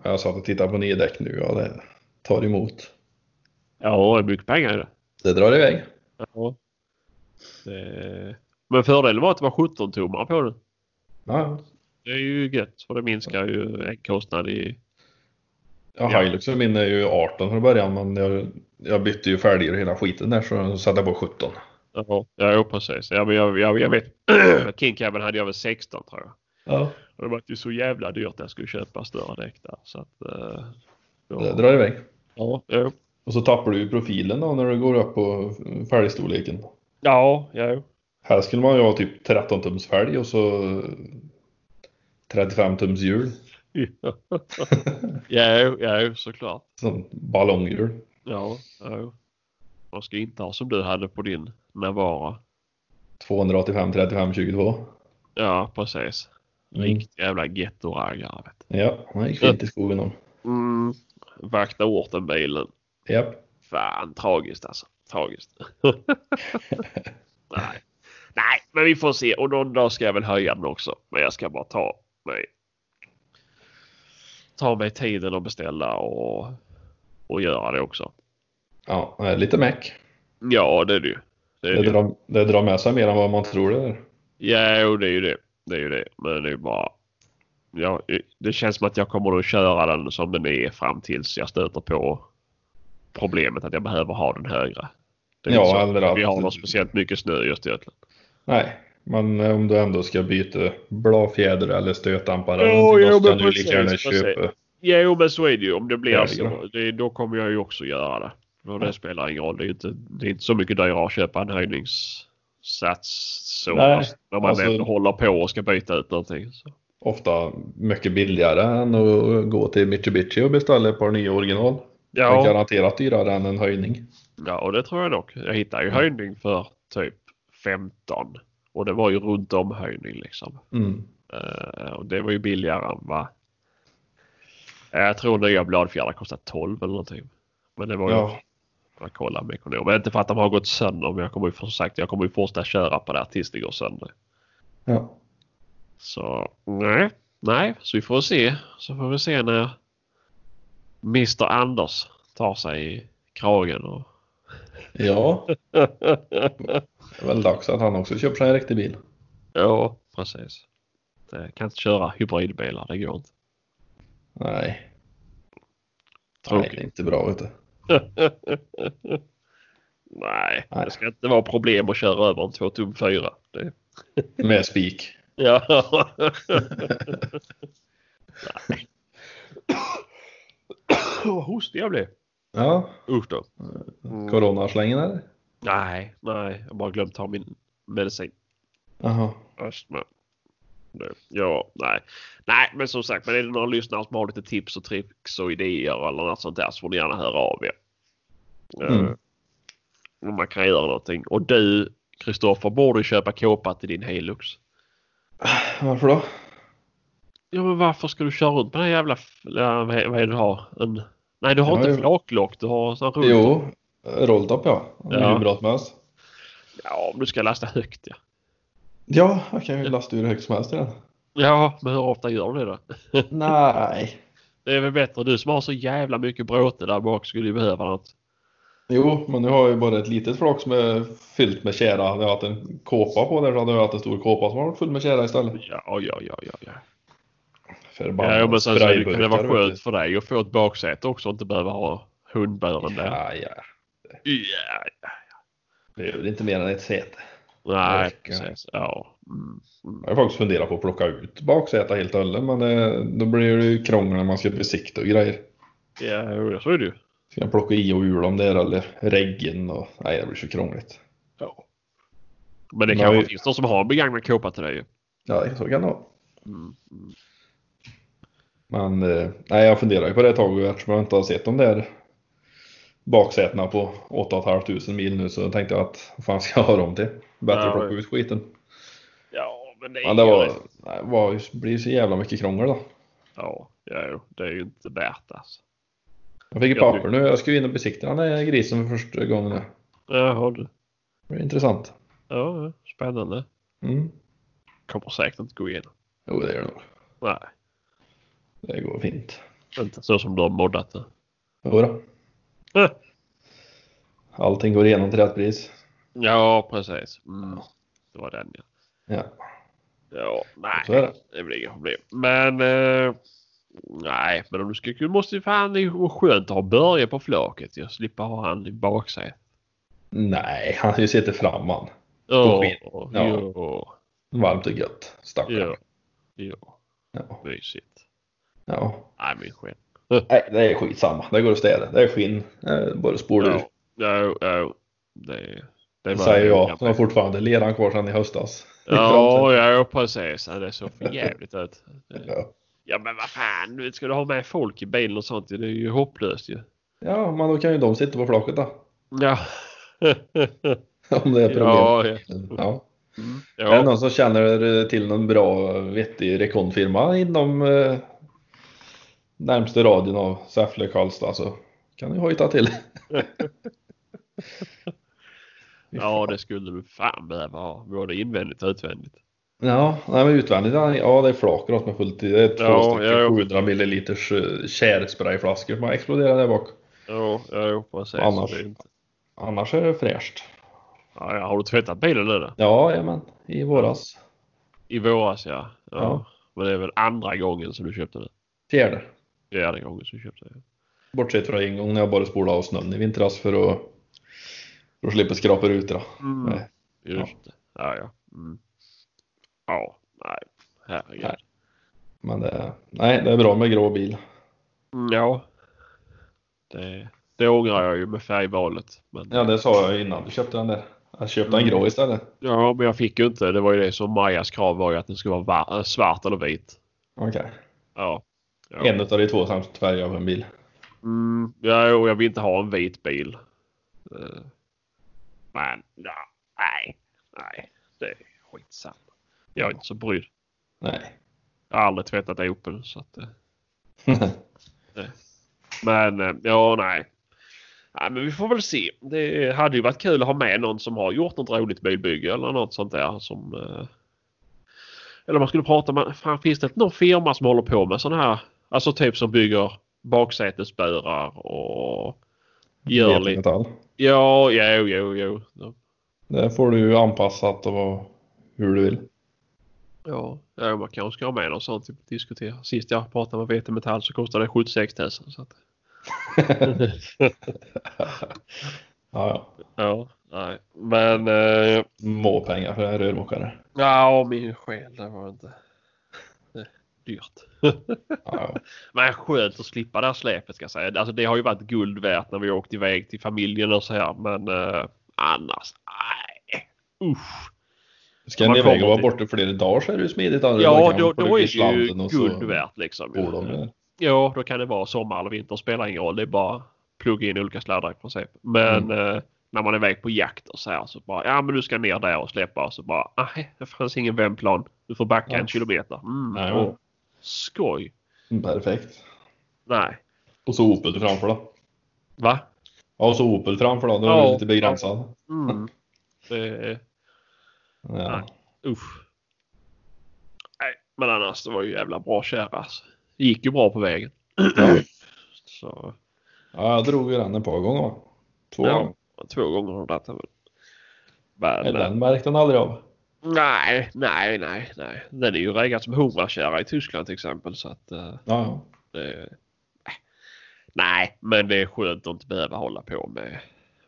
C: Jag satt och tittade på nya däck nu. Ja, det tar emot.
B: Ja, det är mycket pengar i det.
C: Det drar iväg.
B: Ja. det. Men fördelen var att det var 17 tummar på det.
C: Ja, ja.
B: Det är ju gött för det minskar ju en kostnad i...
C: Ja, Hiluxen min är ju 18 från början men jag, jag bytte ju fälgar och hela skiten där så satte jag på 17.
B: Ja, ja precis. Ja, men jag, jag, jag vet. King Cabin hade jag väl 16 tror jag.
C: Ja.
B: Och det var ju så jävla dyrt när jag skulle köpa större däck där. Så att, eh, då-
C: Det drar iväg.
B: Ja, jo.
C: Och så tappar du ju profilen då när du går upp på fälgstorleken.
B: Ja, jo.
C: Här skulle man ju ha typ 13 tums fälg och så 35 tums hjul.
B: jo, jo, såklart.
C: Sånt ballonghjul.
B: Ja, jo. Man ska inte ha som du hade på din Navara.
C: 285, 35, 22.
B: Ja, precis.
C: Mm.
B: Riktigt jävla gettoraggare. vet
C: Ja, det gick fint i skogen om.
B: du. Mm. Vakta orten-bilen.
C: Japp.
B: Fan, tragiskt alltså. Tragiskt. Nej. Nej, men vi får se. Och någon dag ska jag väl höja den också. Men jag ska bara ta mig ta mig tiden att beställa och, och göra det också.
C: Ja, nej, lite meck.
B: Ja, det är det ju. Det är
C: Det
B: det. ju.
C: drar, det drar med sig mer än vad man tror det är.
B: Ja, jo, det är ju det. Det är ju det. Men det är ju bara... Ja, det känns som att jag kommer att köra den som den är fram tills jag stöter på problemet att jag behöver ha den högre. Det är
C: Ja,
B: inte så
C: eller
B: att vi
C: att-
B: har något speciellt mycket snö just i Göteborg.
C: Nej, men eh, om du ändå ska byta bladfjäder eller stötdämpare
B: Ja,
C: eller någonting,
B: ja,
C: då ska
B: men
C: du lika gärna
B: precis, precis.
C: köpa
B: Jo, men så är det ju. Om det blir
C: Verkligen.
B: så, det, då kommer jag ju också göra det. Och det spelar ingen roll. Det är inte, det är inte så mycket dyrare att köpa en höjningssats så.
C: Nej,
B: Alltså, när man
C: alltså-
B: väl håller på och ska byta ut någonting. Så.
C: Ofta mycket billigare än att gå till Mitsubishi och beställa ett par nya original. Men
B: Ja,
C: garanterat dyrare än en höjning.
B: ja, och det tror jag nog. Jag hittade ju höjning för typ 15. Och det var ju runt om höjning liksom.
C: Mm.
B: Eh, och det var ju billigare än vad... Eh, Jag tror nya bladfjädrar kostar 12 eller någonting. Men det var ju
C: Ja.
B: Jag kollar med ekonom. Men inte för att de har gått sönder. Men jag kommer ju som sagt jag kommer ju fortsätta köra på det här tills det går sönder.
C: ja.
B: Så nej. Nej, så vi får se. Så får vi se när Mr Anders tar sig i kragen. Och...
C: Ja, det är väl dags att han också köper sig en riktig bil.
B: ja, precis. Det kan inte köra hybridbilar. Det går inte.
C: Nej, nej det
B: Tråkigt.
C: är inte bra vet du.
B: Nej,
C: Nej.
B: det ska inte vara problem att köra över en 2 tum 4. Det...
C: Med spik.
B: Ja. Nej. Vad hostig jag blev.
C: Ja,
B: Usch då.
C: Mm. coronaslängen eller?
B: Nej, nej. Jag har bara glömt ta min medicin.
C: Jaha.
B: Astma. Nej, Ja, nej. Nej, men som sagt, men är det några lyssnare som har lite tips och tricks och idéer eller något sånt där så får ni gärna höra av er.
C: Mm.
B: Eh, Om man kan göra någonting. Och du, Kristoffer, borde köpa kåpa till din Hilux.
C: Varför då?
B: Ja, men varför ska du köra runt på den här jävla... f- ja, Vad är vad är det du har? En... Nej, du har
C: Ja,
B: inte
C: jo.
B: flaklock. Du har sån runt.
C: Jo, rolltop ja. Det är
B: Ja.
C: ju bra som helst.
B: Ja, om du ska lasta högt ja.
C: Ja, jag kan ju lasta ur hur högt som helst i den.
B: Ja, men hur ofta gör du det då?
C: Nej.
B: Det är väl bättre. Du som har så jävla mycket bråte där bak skulle ju behöva något.
C: Jo, men nu har jag ju bara ett litet flak som är fyllt med tjära. Hade jag haft en kåpa på där så hade jag haft en stor kåpa som var full med tjära istället.
B: Ja, ja, ja, ja. ja.
C: Förbannade
B: ja men sen så det kan det vara
C: sprayburkar, vet
B: skönt för dig att få ett baksäte också och inte behöva ha hundburen
C: du.
B: där.
C: Ja, ja.
B: Ja.
C: Det är väl inte mer än ett säte.
B: Nej,
C: Verkar.
B: precis. Ja. Mm.
C: Jag har faktiskt funderat på att plocka ut baksätet helt och hållet, men det, då blir det ju krångel när man ska besikta och grejer.
B: Ja, jo, så är det ju.
C: Ska jag plocka i och ur dem där eller reggen och nej, det blir så krångligt.
B: Ja. Men det
C: Nej.
B: kanske finns någon som har en begagnad kåpa till dig ju.
C: Ja, så kan det vara.
B: Mm.
C: Men eh, nej, jag funderar ju på det ett tag eftersom jag inte har sett de där baksätena på 8 500 mil nu så tänkte jag att vad fan ska jag ha dem till? Bättre
B: Ja,
C: att plocka ut skiten.
B: Ja, men det är
C: Men det var, nej, var, ju- blir ju så jävla mycket krångel då.
B: Ja, ja, jo, det är ju inte värt alltså.
C: Jag fick ett
B: Ja,
C: papper nu, jag ska ju in och besikta den här grisen för första gången nu.
B: Jaha du.
C: Det blir intressant.
B: Ja, ja, spännande.
C: Mm.
B: Kommer säkert inte gå igenom.
C: Jo, det gör det nog.
B: Nej,
C: Det går fint.
B: inte så som du har moddat det.
C: Jodå.
B: Eh.
C: Allting går igenom till rätt pris.
B: Ja, precis. Mm. Det var den ja.
C: Ja,
B: Ja, nej.
C: så är det.
B: Det blir inga problem. Men... Eh, nej, men om du ska... Du måste ju fan... Det är ju skönt att ha Börje på flaket Jag slipper ha han i baksätet.
C: Nej, han har ju suttit fram han.
B: Ja,
C: skit.
B: ja,
C: Ja.
B: ja,
C: Varmt och gött. Stackarn.
B: ja, ja.
C: Ja.
B: Mysigt.
C: ja.
B: Nej, min skit.
C: Nej, det är skitsamma. Det går att städa. Det är skinn. Det är Bara spolar ur.
B: Ja, ja, ja. Det, det
C: Det säger jag som har fortfarande leran kvar sedan i höstas.
B: Ja, ja, precis. Ja, Det såg för jävligt ut.
C: Ja.
B: Ja, men vad fan. du vet, Ska du ha med folk i bilen och sånt? Det är ju hopplöst ju.
C: ja, men då kan ju de sitta på flaket då.
B: Ja.
C: Om det är problem.
B: ja, ja.
C: Ja.
B: Mm,
C: Är det
B: ja.
C: någon som känner till någon bra vettig rekondfirma inom eh, närmsta radien av Säffle Karlstad så kan ni hojta till.
B: ja, det skulle du fan behöva ha. Både invändigt och utvändigt.
C: Ja, nej, men utvändigt, ja det är flak då som är fullt i. Det är två
B: Ja,
C: stycken
B: ja, ja.
C: 700 milliliters eh, tjärsprayflaskor som har exploderat där bak.
B: Ja, ja, ja precis.
C: Annars-
B: Det är inte-
C: Annars är det fräscht.
B: Ja, ja, har du tvättat bilen nu då?
C: Ja, jajamän, i våras.
B: I våras ja. ja.
C: Ja.
B: Men det är väl andra gången som du köpte den?
C: Fjärde.
B: Fjärde gången som du köpte den.
C: Bortsett från en gång när jag bara spolade av snön i vintras för att, för att slippa skrapa rutorna.
B: Mm.
C: Nej.
B: Just det. Ja, ja. Mm. Ja, nej. Herregud.
C: Nej. Men det, nej, det är bra med grå bil.
B: Mm, Ja. Det, det ångrar jag ju med färgvalet. Men,
C: Ja, det sa jag ju innan du köpte den där. Jag köpte
B: Mm.
C: en grå istället.
B: ja, men jag fick ju inte. Det var ju det som Majas krav var ju att den skulle vara va- svart eller vit.
C: Okej.
B: Ja. ja.
C: En av de två samt färger av en bil.
B: Mm, ja, och jag vill inte ha en vit bil. Eh, Men ja, nej, nej, det är skitsamma. Jag är inte så brydd.
C: Nej.
B: Jag har aldrig tvättat Opel. Så att, eh, men eh, ja, nej. nej. Men vi får väl se. Det hade ju varit kul att ha med någon som har gjort något roligt bilbygge eller något sånt där. Som, eh, eller man skulle prata med. Fan, finns det inte någon firma som håller på med sådana här? Alltså typ som bygger baksätesburar och gör lite.
C: Metall.
B: Ja, jo, jo, jo.
C: Det får du ju anpassat och vad, hur du vill.
B: Ja, ja man kanske ska ha med något sånt att diskutera. Sist jag pratade med VT Metall så kostade det 76 000. Så att,
C: Ja, ja.
B: ja, nej. Men... Eh,
C: Må pengar för en rörmokare.
B: ja, min själ, det var inte... Det är dyrt.
C: Ja, ja.
B: Men skönt att slippa det här släpet ska jag säga. Alltså det har ju varit guld värt när vi åkt iväg till familjen och så här. Men eh, annars, nej. Usch.
C: Ska
B: Man
C: ni iväg och vara
B: kommer
C: borta flera dagar så är det ju smidigt. Andra dagar
B: Ja,
C: kan
B: då,
C: man få
B: då
C: ut i
B: är det ju
C: slanten och så
B: guld värt liksom.
C: bor de där.
B: Ja, då kan det vara sommar eller vinter. Spelar ingen roll. Det är bara plugga in olika sladdar i princip. Men
C: Mm.
B: eh, när man är iväg på jakt och så här så bara ja men du ska ner där och släppa och så bara nej det fanns ingen vändplan. Du får backa
C: Ja.
B: en kilometer. Mm,
C: Nej,
B: åh, skoj.
C: men Perfekt.
B: Nej.
C: Och så Opel framför då.
B: Va?
C: Ja, och så Opel framför då. Då är
B: Ja.
C: du lite begränsad.
B: Mm. Det,
C: Ja.
B: usch. Nej men annars det var ju jävla bra kärra. Alltså. Det gick ju bra på vägen. så
C: ja, jag drog ju den ett par gånger. va? Två gånger.
B: ja, två gånger har de dragit den. Men,
C: Nej,
B: eh,
C: Den märkte han aldrig av.
B: Nej, nej, nej, nej. Den är ju reggad som hummerkärra i Tyskland till exempel så att eh,
C: Ja, ja.
B: det, eh, Nej, men det är skönt att inte behöva hålla på med,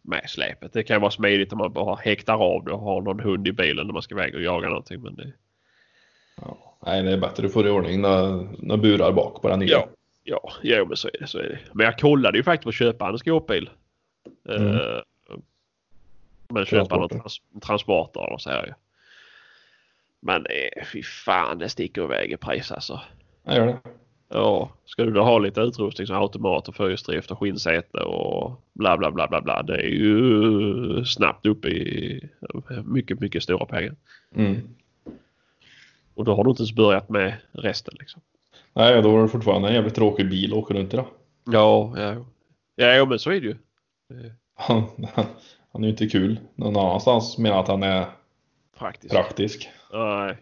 B: med släpet. Det kan vara smidigt om man bara häktar av det och har någon hund i bilen när man ska iväg och jaga någonting. Men det,
C: Ja. Nej, det är bättre att få det i ordning när, när burar bak på den nya.
B: ja, ja, ja, men så är det, så är det. Men jag kollade ju faktiskt på att köpa en skåpbil. Eh,
C: Mm.
B: Men köpa någon
C: Transporter.
B: trans, transporter eller så här ju. Men eh, fy fan, det sticker iväg i pris alltså.
C: Jag gör det.
B: Ja, ska du då ha lite utrustning som automat och fyrhjulsdrift och skinnsäte och bla bla bla bla bla. Det är ju snabbt upp i mycket, mycket stora pengar.
C: Mm.
B: Och då har du inte ens börjat med resten liksom.
C: Nej, då var det fortfarande en jävligt tråkig bil att åka runt i då.
B: Ja, ja. Ja, men så är det ju.
C: Han, han är ju inte kul någon annanstans menar att han är
B: Praktiskt.
C: praktisk.
B: Nej.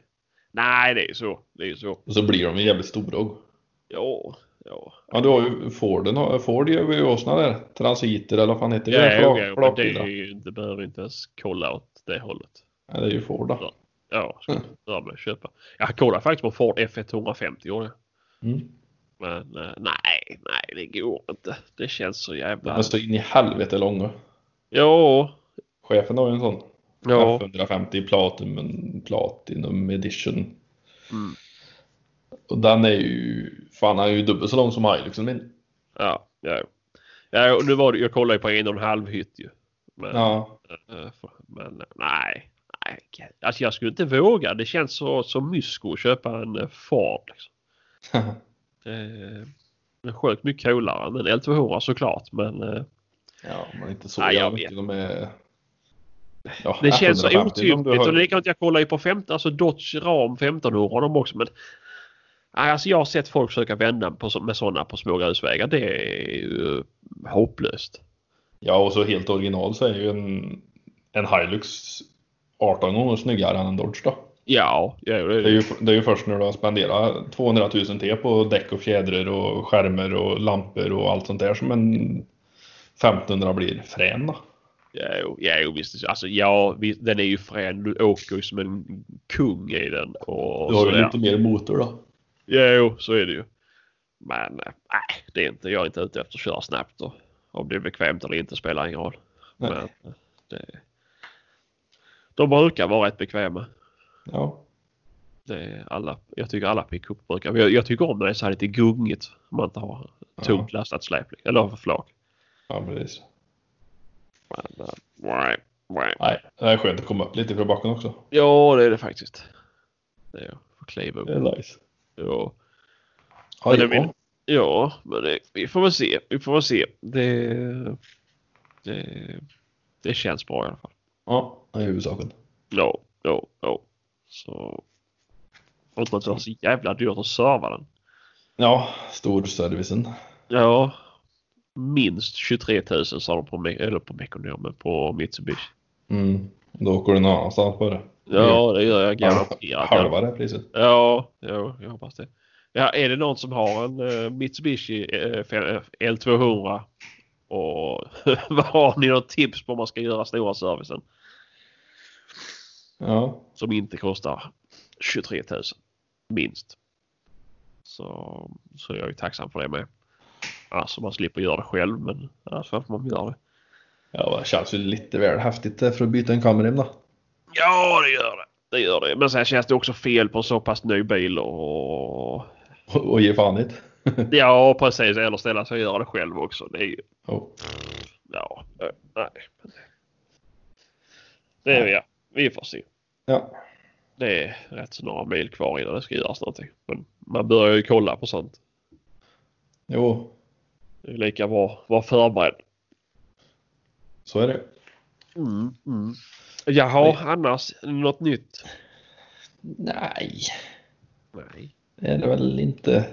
B: Nej, det är ju så. Det är ju så.
C: Och så blir de ju jävligt stora. också.
B: Ja, ja.
C: Ja, du har ju Forden, har- Ford gör ju åsna där. Transiter eller vad fan heter det?
B: Ja, ja,
C: Flak-
B: ja, men det
C: flakbilar.
B: är ju inte, behöver inte ens kolla åt det hållet.
C: Ja, det är ju Ford då.
B: Ja, ska jag börja med att köpa. Jag kollade faktiskt på Ford F150 gjorde jag.
C: Mm.
B: Men eh, nej, nej, det går inte. Det känns så
C: De
B: jävla...
C: är så in i helvete långa.
B: Ja,
C: Chefen har ju en sån.
B: ja.
C: F150 Platinum, Platinum Edition.
B: Mm.
C: Och den är ju, fan han är ju dubbelt så lång som liksom, Hiluxen min.
B: Ja, ja. ja och nu var det, jag kollade ju på en och en halv hytt ju. Men,
C: Ja,
B: eh, för- men eh, nej. nej. okej. Alltså jag skulle inte våga. Det känns så, så mysko att köpa en eh, Ford. Liksom. Eh, Den är sjukt mycket coolare än en L200 såklart. Men eh,
C: ja men inte så
B: Nej, jag
C: jävla
B: vet.
C: mycket. De är... Ja,
B: det känns så
C: 150 om du
B: otympligt.
C: har-
B: Och likadant, jag kollar ju på 15, alltså Dodge Ram 1500 har de också. Men nej, alltså jag har sett folk försöka vända på, så- med sådana på små grusvägar. Det är ju hopplöst.
C: Ja, och så helt original så är ju en, en Hilux 18 gånger snyggare än en Dodge då.
B: Ja, ja det är
C: Det är,
B: det.
C: ju, det är ju först när du har spenderat 200 000 till på däck och fjädrar och skärmar och lampor och allt sånt där som en 1500 blir frän då.
B: Ja, ja, visst. Alltså, ja, visst, den är ju frän. Du åker ju som en kung i den. Och
C: Du har ju
B: sådär.
C: lite mer motor då.
B: Jo, så är det ju. Men eh, nej, det är inte, jag är inte ute efter att köra snabbt. Och, om det är bekvämt eller inte spelar ingen roll.
C: Nej.
B: Men, eh, det, de brukar vara rätt bekväma.
C: Ja.
B: Det är alla, jag tycker alla pickup brukar. Jag, jag tycker om när det är så här lite gungigt. Man inte har tungt lastat släp. liksom. Eller flak.
C: Ja, precis.
B: Men, eh, nej, nej.
C: Nej, det är skönt att komma upp lite från backen också.
B: Ja, det är det faktiskt. Det är att få kliva upp.
C: Det är nice.
B: Ja.
C: Ja,
B: Men det
C: ja.
B: vill- Ja, men det, vi får väl se. Vi får väl se. Det, det, det känns bra i alla fall.
C: ja, det är huvudsaken.
B: Ja, ja, ja. Så. Förutom att det var så jävla dyrt att serva den.
C: Ja, storservicen.
B: Ja. Minst 23 000 sa de på, Me- eller på Mekonomen, men på Mitsubishi.
C: Mm. Då åker du någon annanstans på det.
B: Ja, det gör jag
C: Ja,
B: garanterat.
C: halva det priset.
B: Ja, ja, jag hoppas det. Ja, är det någon som har en eh, Mitsubishi eh, fe- L200 och vad har ni något tips på hur man ska göra stora servicen
C: Ja,
B: som inte kostar 23 000 minst? Så, så jag är ju tacksam för det med. Alltså man slipper göra det själv men annars varför man gör det.
C: ja det känns ju lite väl häftigt eh, för att byta en kamera då.
B: Ja det gör det. Det gör det. Men sen känns det också fel på en så pass ny bil och
C: Och, och ge fan i det.
B: ja precis eller ställa sig och göra det själv också. Det är ju
C: Ja.
B: Ja, eh, nej. Det är ja. Vi får se.
C: Ja.
B: Det är rätt så några mil kvar innan det ska göras någonting. Men man börjar ju kolla på sånt.
C: Jo,
B: Det är lika bra att vara förberedd.
C: så är det.
B: Mm, mm. Jaha, annars något nytt?
C: Nej,
B: Nej.
C: det är det väl inte.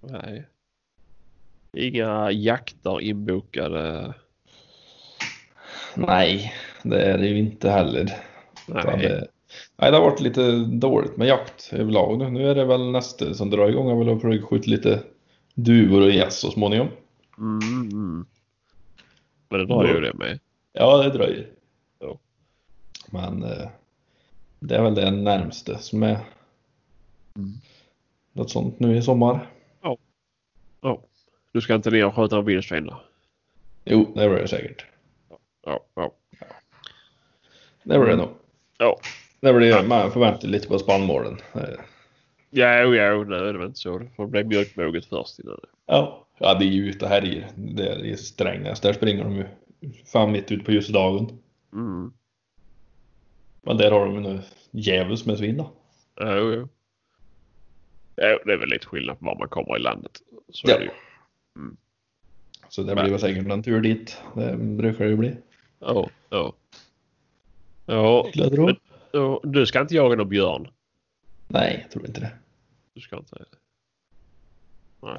B: nej. Inga jakter inbokade?
C: Nej, det är det ju inte heller. Utan
B: Nej.
C: Det, nej, det har varit lite dåligt med jakt överlag nu. Nu är det väl nästa som drar igång. Jag vill försöka skjuta lite duvor och gäss så småningom.
B: Mm, mm. Men det drar ju det med.
C: Ja, det dröjer.
B: Ja.
C: Men eh, det är väl det närmste som är
B: Mm.
C: något sånt nu i sommar.
B: Du ska inte ner och skjuta en vildsvin då?
C: Jo, det blir det säkert.
B: Ja, ja.
C: Det blir det nog.
B: Ja,
C: Det blir det. Man förväntar lite på spannmålen. Eh,
B: Ja, jo, nu är det väl inte så. Det får bli mjölkmoget först innan det.
C: Ja. ja, det är ju ute och härjer. Det är i Strängnäs. Där springer de ju fan mitt ut på ljusdagen.
B: Mm.
C: Men där har de ju nu djävulskt med svin då.
B: Jo, jo. Jo, det är väl lite skillnad på var man kommer i landet. Så
C: Ja.
B: är det ju.
C: Så det
B: Men-
C: blir väl säkert en tur dit. Det brukar det ju bli.
B: Ja, ja. Ja,
C: Skulle jag tro.
B: ja, du ska inte jaga någon björn.
C: Nej, jag tror inte det.
B: Du ska inte.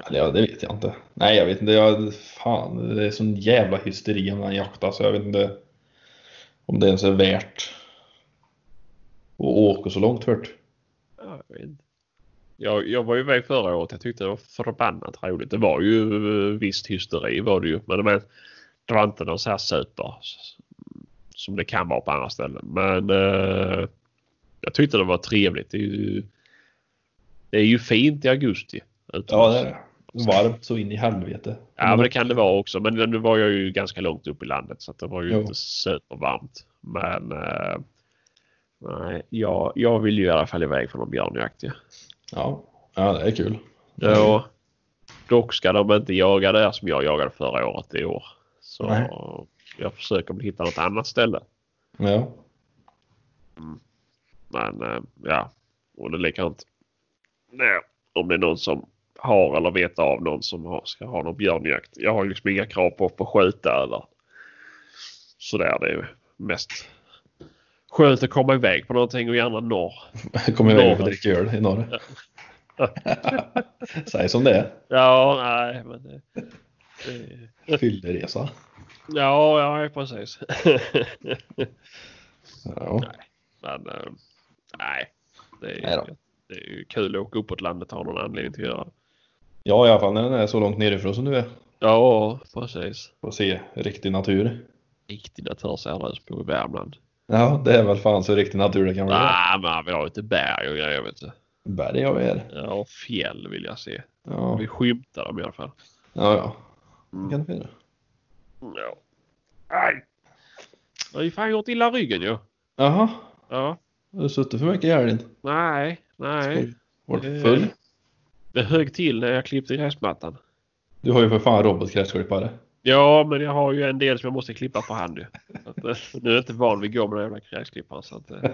C: Eller ja, det vet jag inte. Nej, jag vet inte. Jag, fan, det är sån jävla hysteri om den jaktar så jag vet inte om det ens är värt att åka så långt för det.
B: Ja, jag, vet inte. Jag, jag var ju iväg förra året. Jag tyckte det var förbannat roligt. Det var ju eh, visst hysteri var det ju. Men det var, det var inte någon så här super s- som det kan vara på andra ställen. Men eh, jag tyckte det var trevligt. Det är ju, det är ju fint i augusti.
C: Ja,
B: utomlands.
C: det är det. Varmt så in i helvete.
B: Ja, men det kan det vara också. Men nu var jag ju ganska långt upp i landet så att det var ju
C: Jo.
B: inte supervarmt. Men eh, nej, jag, jag vill ju i alla fall iväg för någon björnjakt. Ja.
C: Ja, ja det är kul.
B: Ja. Dock ska de inte jaga där som jag jagade förra året i år. Så
C: Nej.
B: jag försöker väl hitta något annat ställe.
C: Ja.
B: Men eh, ja, och det är likadant. Nej, om det är någon som har eller vet av någon som har, ska ha någon björnjakt. Jag har ju liksom inga krav på på att skjuta eller sådär. Det är ju mest skönt att komma iväg på någonting och gärna norr.
C: Jag kommer iväg och dricka öl i norr. Säg som det är.
B: Ja, nej, men det, det,
C: Fylleresa.
B: Ja, ja precis.
C: Ja.
B: Men eh, nej, det
C: Nej
B: är,
C: då.
B: det är ju kul att åka uppåt landet av någon anledning till att göra. det.
C: ja, i alla fall när den är så långt nerifrån som du är.
B: Ja, precis.
C: Får se riktig natur.
B: Riktig naturseriös på i Värmland.
C: Ja, det är väl fan så riktig natur det kan bli.
B: Nej, men vi har ju inte berg och grejer vet du.
C: Berg och er.
B: Ja, fjäll vill jag se.
C: Ja,
B: Vi
C: ja.
B: skymtar dem i alla fall.
C: ja. Det kan det finnas.
B: Ja. Nej. Jag har ju fan gjort illa ryggen ju.
C: Jaha,
B: Ja.
C: har du suttit för mycket i helgen?
B: Nej, nej.
C: Varit
B: Eh.
C: full?
B: Det högg till när jag klippte gräsmattan.
C: Du har ju för fan robotgräsklippare.
B: Ja, men jag har ju en del som jag måste klippa på hand ju. Så Att, eh, nu är jag inte van vid att gå med den jävla gräsklipparen så att... eh,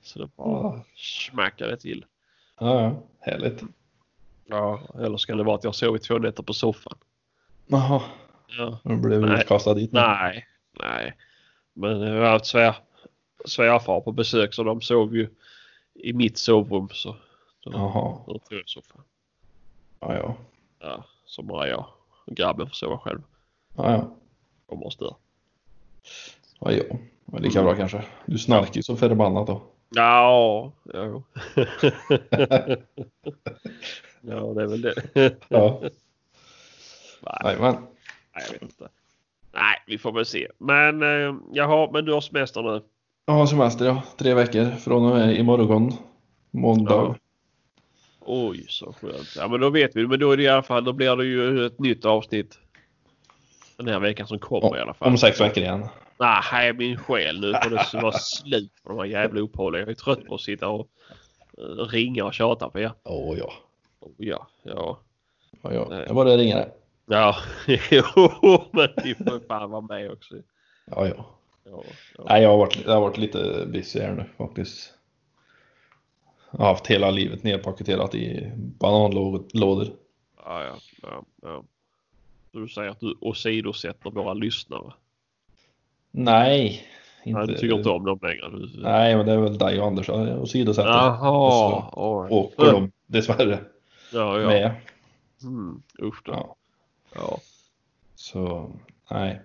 B: Så det bara
C: Ja,
B: smackade till.
C: ja. Härligt.
B: Ja, eller ska det vara att jag sov i två nätter på soffan?
C: Jaha,
B: Ja.
C: nu blev du
B: Nej.
C: utkastad dit. nu.
B: Nej, nej. Men jag har haft svär, svärfar på besök så de sov ju i mitt sovrum så de
C: Jaha,
B: de tog i soffan.
C: ja ja.
B: Ja, så bara jag och grabben får sova själv.
C: Ja, ja.
B: De måste där.
C: Ja, ja. Men lika
B: Mm.
C: bra kanske. Du snarkar ju så förbannat då.
B: Ja, jo. ja, det är väl det.
C: Ja,
B: nej,
C: jajamän.
B: nej, jag vet inte. Nej, vi får väl se. Men eh, jaha, men du har semester nu.
C: Jag har semester ja. Tre veckor från och med imorgon. Måndag.
B: Ja. Oj, så skönt. Ja, men då vet vi. Men då är det i alla fall, då blir det ju ett nytt avsnitt. Den här veckan som kommer i alla
C: Om,
B: fall.
C: om sex veckor igen.
B: Nej, min själ. Nu får det vara slut på de här jävla uppehållen. Jag är trött på att sitta och eh, ringa och tjata på er.
C: Åh ja.
B: Oh, ja, ja.
C: Ja, ja.
B: Nej.
C: Det var det ringare.
B: Ja, jo, men ni får ju fan vara med också.
C: Ja, ja.
B: Ja, ja.
C: Nej, jag har varit, jag har varit lite busy här nu faktiskt. Jag har haft hela livet nedpaketerat i bananlådor.
B: Ja, ja, ja, ja. Så du säger att du åsidosätter våra lyssnare.
C: Nej, inte.
B: Nej, du tycker inte om dem längre. Du...
C: Nej, men det är väl dig och Anders jag åsidosätter.
B: Jaha,
C: Så
B: all right.
C: Åker de dessvärre
B: Ja, ja.
C: med.
B: Mm, usch då.
C: Ja.
B: Ja.
C: Så nej.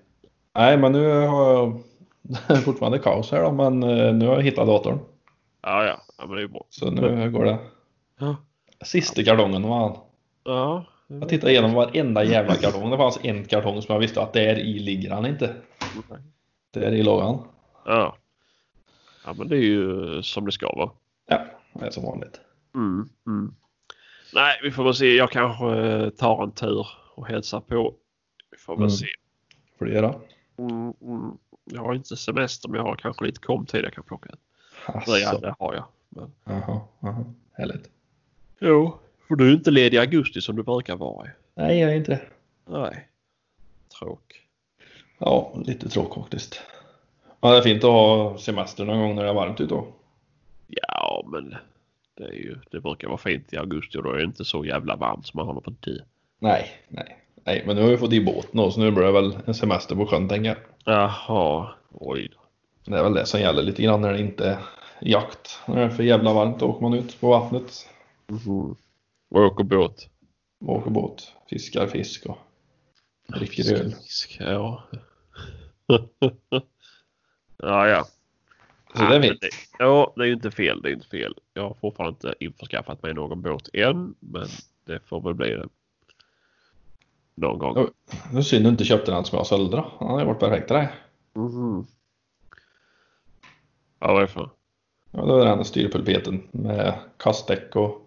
C: Nej, men nu har jag det är fortfarande kaos här då, men eh, nu har jag hittat datorn.
B: Ja, ja. ja, men det är bra.
C: Så nu går det.
B: Ja.
C: Sista kartongen var han.
B: Ja.
C: Jag tittade igenom varenda jävla kartong. Det fanns en kartong som jag visste att där i ligger han inte. Där i låg han.
B: Ja. Ja, men det är ju som det ska vara.
C: Ja, det är som vanligt.
B: Mm, mm. Nej, vi får väl se. Jag kanske eh, tar en tur och hälsar på. Vi får väl
C: Mm.
B: se.
C: Får du göra?
B: Mm, mm. Jag har inte semester, men jag har kanske lite komtid jag kan plocka ut. Nej, Ja,
C: Alltså.
B: det har jag.
C: Jaha, jaha. Härligt.
B: Jo, för du är inte ledig i augusti som du brukar vara. i.
C: Nej, jag är inte det.
B: Nej. Tråk.
C: Ja, lite tråkigt faktiskt. Ja, det är fint att ha semester någon gång när det är varmt ute då.
B: Ja, men det, är ju, det brukar vara fint i augusti och då är det inte så jävla varmt som man håller på att dö.
C: Nej, nej. Nej, men nu har vi fått i båten och så nu blir det väl en semester på sjön tänker jag.
B: Jaha, oj då.
C: Det är väl det som gäller lite grann när det inte är jakt. När det är för jävla varmt då åker man ut på vattnet.
B: Mhm. Och åker båt.
C: Åker båt, fiskar fisk och dricker öl.
B: Fisk, Ja. ja, ja.
C: Så det är
B: men
C: mitt.
B: Ja, det är ju inte fel. Det är inte fel. Jag har fortfarande inte införskaffat mig någon båt än, men det får väl bli det. Någon gång.
C: Ja. Det är synd du inte köpte den som jag sålde då. Han hade varit perfekt där.
B: Mhm. Ja, varför?
C: Ja, det var den där styrpulpeten med kastdäck och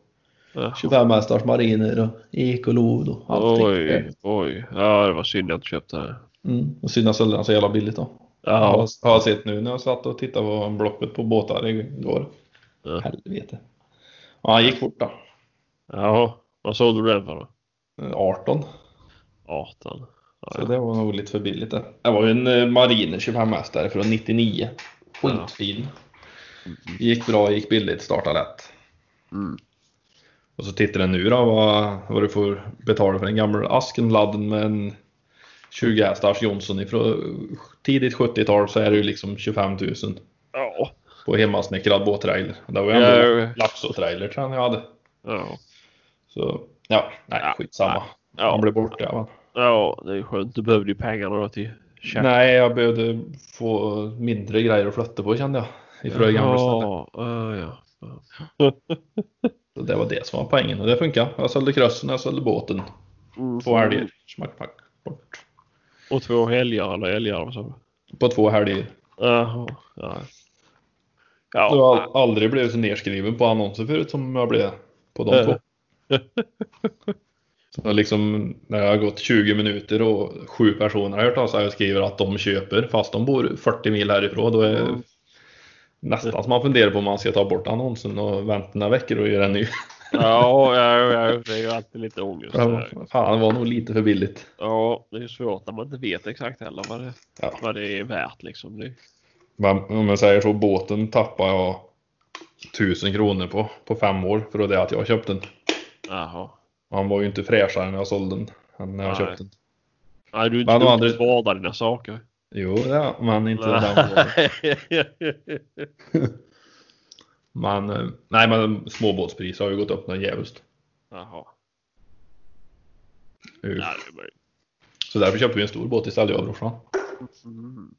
B: Ja.
C: 25 hästars mariner och ekolod och allting.
B: Oj, oj. Ja, det var synd jag inte köpte det.
C: Mm. Och sina sålde den så jävla billigt då.
B: Ja.
C: Har, har jag sett nu när jag satt och tittade på blocket på båtar igår.
B: Ja.
C: Helvete. Ja, han gick fort då.
B: ja. Vad sålde du den för då?
C: 18.
B: 18. Ja,
C: Så
B: ja.
C: det var nog lite för billigt det. Det var ju en eh, Mariner 25 hästare från 99. Skitfin. Gick bra, gick billigt, startade lätt.
B: Mm.
C: Och så tittar den nu då vad, vad du får betala för en gammal Askenladden med en 20 hästars Jonsson ifrån tidigt 70-tal så är det ju liksom 25 000
B: Ja.
C: på hemmasnickrad båttrailer. Och Det var ju
B: Ja,
C: ändå
B: ja, ja.
C: Laxå-trailer tror jag jag hade.
B: Ja.
C: Så ja, nej
B: Ja,
C: skitsamma.
B: ja.
C: Han blev borta. va?
B: ja, det är skönt. Du behövde ju pengarna då till tjack.
C: Nej, jag behövde få mindre grejer att flytta på kände jag. Ifrån det gamla stället.
B: ja, ja, ja. ja.
C: Så Det var det som var poängen och det funkar. Jag sålde krossen, jag sålde båten.
B: Mm.
C: Två helger. Smack, smack, bort.
B: Och två helger eller älgar vad sa du?
C: På två helger.
B: Jaha. Ja.
C: Jag har
B: Ja.
C: all- aldrig blivit så nerskriven på annonser förut som jag blev på de
B: Äh.
C: två. Så liksom, när jag har gått 20 minuter och sju personer har hört av sig och skriver att de köper fast de bor 40 mil härifrån. Då är
B: Mm.
C: nästan som man funderar på om man ska ta bort annonsen och vänta några veckor och göra en ny.
B: Ja, ja, ja, det är ju alltid lite ångest.
C: Ja,
B: Ja,
C: typ, fan, det var nog lite för billigt.
B: det är ju svårt när man inte vet exakt heller vad det,
C: Ja.
B: vad det är värt liksom. Det,
C: Men Om jag säger så, båten tappade jag 1000 kronor på, på fem år för det att jag köpte den.
B: jaha.
C: Han var ju inte fräschare när jag sålde den än när jag
B: Nej.
C: köpte den.
B: Nej, du är
C: Men
B: inte
C: å
B: duktig
C: andra-
B: på att vårda dina saker.
C: Jo, ja, men inte den båten. Men, eh, nej, men småbåtspriser har ju gått upp något djävulskt.
B: Jaha.
C: Uff.
B: Ja, det är bara...
C: Eh, Så därför köpte vi en stor båt istället, jag och brorsan.
B: mm.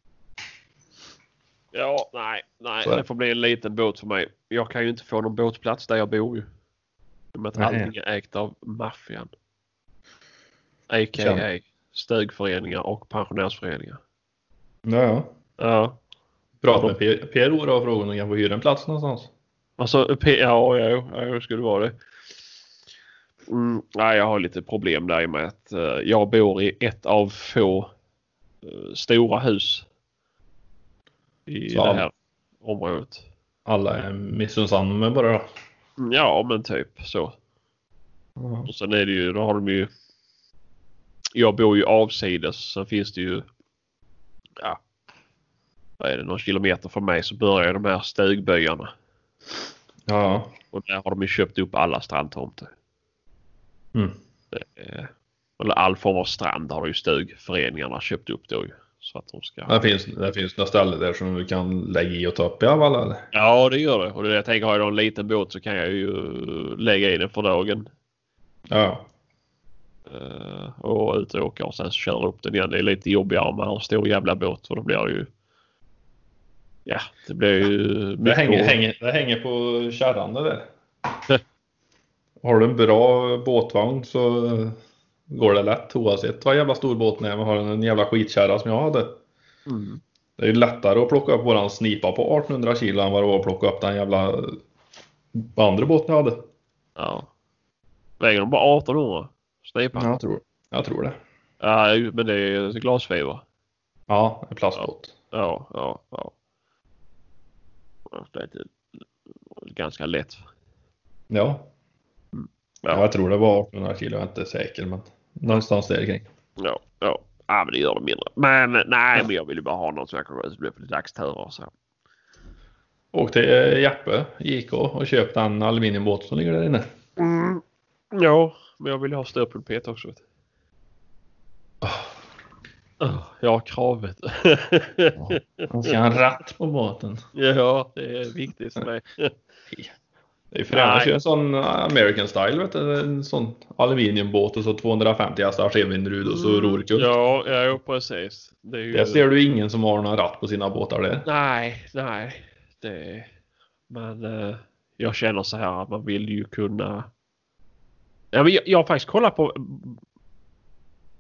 B: Ja, nej, nej.
C: Så är det.
B: Det får bli en liten båt för mig. Jag kan ju inte få någon båtplats där jag bor ju. I och med att
C: Nej.
B: allting är ägt av maffian. A.k.a.
C: Känn.
B: stugföreningar och pensionärsföreningar.
C: Ja, ja.
B: Ja.
C: Prata med P- PRO då och fråga om de kan få hyra en plats någonstans.
B: Alltså, P- ja, ja, ja, det skulle vara det. Mm, nej, jag har lite problem där i och med att eh, jag bor i ett av få eh, stora hus i
C: Så
B: det
C: all-
B: här området.
C: Alla är missunnsamma bara då.
B: Mm, Ja, men typ så.
C: Ja.
B: Och sen är det ju, då har de ju. Jag bor ju avsides, sen finns det ju. Ja. Vad är det, någon kilometer från mig så börjar ju de här stugbyarna.
C: ja.
B: Och där har de ju köpt upp alla strandtomter.
C: Mm.
B: eh, eller all form av strand har ju stugföreningarna köpt upp då ju. Så att de ska...
C: Det finns, det finns några ställen där som du kan lägga i och ta upp i alla fall eller?
B: Ja, det gör det. Och det jag tänker, har jag då en liten båt så kan jag ju eh, lägga i den för dagen.
C: Ja.
B: eh, Och ut och åka och sen så köra upp den igen. Det är lite jobbigare med en stor jävla båt för då blir det ju... Ja, det blir ju...
C: Det
B: mycket
C: hänger,
B: att-
C: hänger, det hänger på kärran det där. Har du en bra båtvagn så går det lätt oavsett vad jävla stor båten är. Men har du en jävla skitkärra som jag hade.
B: Mm.
C: Det är ju lättare att plocka upp våran snipa på 1800 kilo än vad det var att plocka upp den jävla andra båten jag hade.
B: Ja. Väger de bara 1800? Snipan? Ja.
C: jag tror, jag tror det.
B: ju, men det är glasfiber.
C: Ja, en plastbåt.
B: Ja, ja, ja. Det är typ ganska lätt.
C: Ja. ja, jag tror det var 1800 kilo. Jag är inte säker men någonstans där kring.
B: Ja, ja. Ja, men det gör det mindre. Men nej, men jag vill ju bara ha något som jag kan gå ut och bli på lite dagsturer och så.
C: Åk till eh, Jeppe, JK och köp den aluminiumbåten som ligger där inne.
B: Mm. Ja, men jag vill ju ha ståpulpet också. Vet du.
C: Ah.
B: Åh, jag har kravet.
C: Man ska ha en ratt på båten.
B: ja, det är viktigt för mig.
C: Det är fränt att
B: Nej.
C: köra en sån uh, American style, vet du. En sån aluminiumbåt och så 250 hästar skevvindrud och så rorkull.
B: Mm. Ja, ja, jo, precis. Det är ju...
C: Där ser du ingen som har någon ratt på sina båtar där.
B: Nej, nej. Det... Men eh, jag känner så här att man vill ju kunna... Ja, men jag, jag har faktiskt kollat på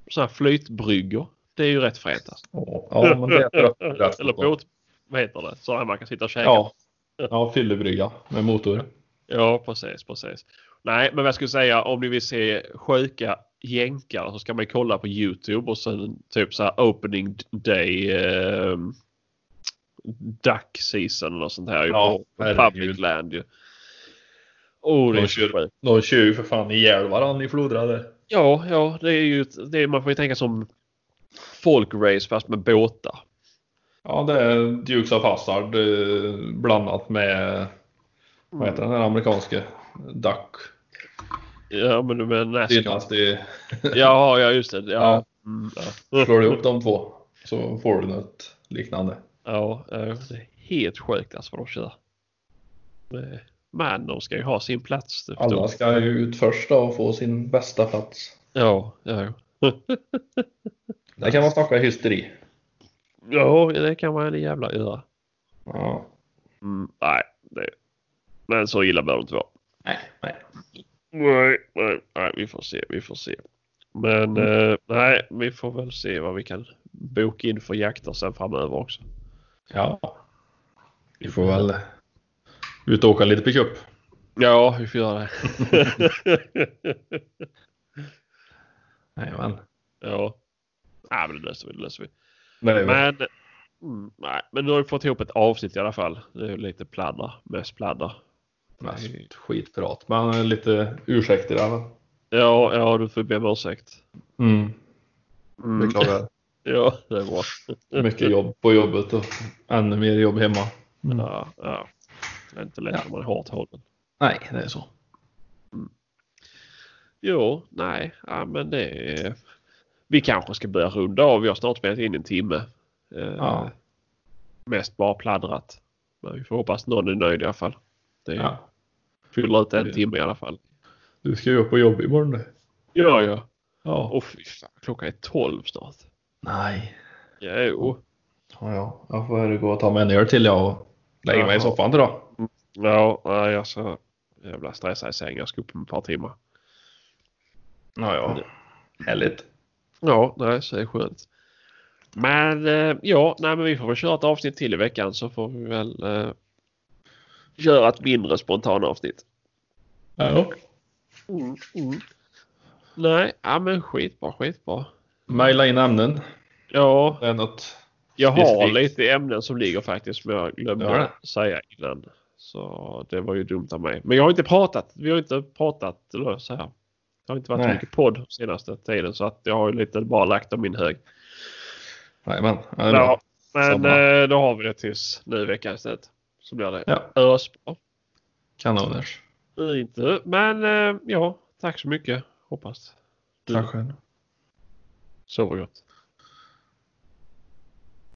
B: sådana här flytbryggor. Det är ju rätt fränt. Alltså.
C: Ja, men det är rätt- rätt.
B: Eller båt. Vad heter det? Så här man kan sitta och käka.
C: Ja. Ja, fyllebrygga med motor.
B: Ja, precis, precis. Nej, men vad jag skulle säga om ni vill se sjuka jänkare så ska man kolla på YouTube och sen typ så här opening day eh, duck season eller sånt här ju
C: Ja,
B: på
C: herregud.
B: public land ju. Oh, det är
C: De
B: så
C: kör,
B: sjukt.
C: de kör ju för fan ihjäl varandra i floderna där.
B: Ja, ja, det är ju ett- det är, man får ju tänka som folkrace fast med båtar.
C: Ja, det är Dukes of Hazzard eh, blandat med, vad heter den där amerikanske? Duck.
B: Ja, men med Nascar.
C: Dynasty.
B: Ja, ja, just det. Ja.
C: Ja.
B: Mm, ja.
C: Slår du ihop de två så får du något liknande.
B: Ja, eh, det är helt sjukt alltså vad de kör. Det- Men de ska ju ha sin plats. Det förstår
C: Alla
B: jag.
C: ska ju ut först då och få sin bästa plats.
B: Ja, ja.
C: Där kan man snacka hysteri.
B: ja, det kan man ju jävla göra.
C: Ja.
B: Mm, nej, det... men så illa behöver det inte vara.
C: Nej, nej.
B: Nej, nej, nej, vi får se, vi får se. Men
C: Mm.
B: eh, nej, vi får väl se vad vi kan boka in för jakter sen framöver också.
C: Ja. Vi får väl ut och åka lite pickup.
B: Ja, vi får göra det.
C: Nej, men.
B: ja. Nej, men det löser vi, det löser vi.
C: Det är väl-
B: Men, mm, nej, men nu har vi fått ihop ett avsnitt i alla fall. Det är ju lite pladder, mest pladder.
C: Mest skitprat. Men eh, lite ursäkter även.
B: Ja, ja du får be om ursäkt.
C: Mm.
B: Mm.
C: Beklagar.
B: Ja, det är bra.
C: Mycket jobb på jobbet och ännu mer jobb hemma.
B: Ja, ja. Det är inte lätt om man är hårt hållen.
C: Nej, det är så.
B: Jo, nej, ja, men det är... Vi kanske ska börja runda av. Vi har snart spelat in en timme. Eh,
C: Ja.
B: Mest bara pladdrat. Men vi får hoppas någon är nöjd i alla fall. Det
C: ja.
B: fyller ut en
C: Det-
B: timme i alla fall.
C: Du ska ju upp och jobba imorgon du.
B: Ja, ja.
C: Ja.
B: Åh fy fan, klockan är 12 snart.
C: Nej.
B: Jo.
C: Ja, ja. Jag får gå och ta mig en öl till jag och lägga mig i
B: Jaha.
C: soffan idag.
B: Ja, nej, alltså. Jävla stressad i sängen. Jag ska upp om ett par timmar.
C: Ja, ja. Härligt.
B: Ja, nej, så är det skönt. Men eh, ja, nej, men vi får väl köra ett avsnitt till i veckan så får vi väl eh, göra ett mindre spontant avsnitt.
C: Ja.
B: Mm, mm. Nej, ja, men skitbra, skitbra.
C: Maila in ämnen.
B: Ja,
C: Det är något.
B: jag har
C: Specifikt.
B: lite ämnen som ligger faktiskt som jag glömde
C: Ja.
B: säga innan. Så det var ju dumt av mig. Men jag har inte pratat. Vi har inte pratat eller så här. Det har inte varit så
C: Nej.
B: mycket podd senaste tiden så att jag har ju lite bara lagt dem i en hög.
C: Nej, men. Ja, det är
B: Ja,
C: bra.
B: men
C: Samma.
B: eh, då har vi det tills ny vecka istället. Så blir det
C: Ja.
B: ösbra.
C: Kanoners.
B: Inte. Men eh, ja, tack så mycket. Hoppas du
C: Tack själv.
B: sover gott.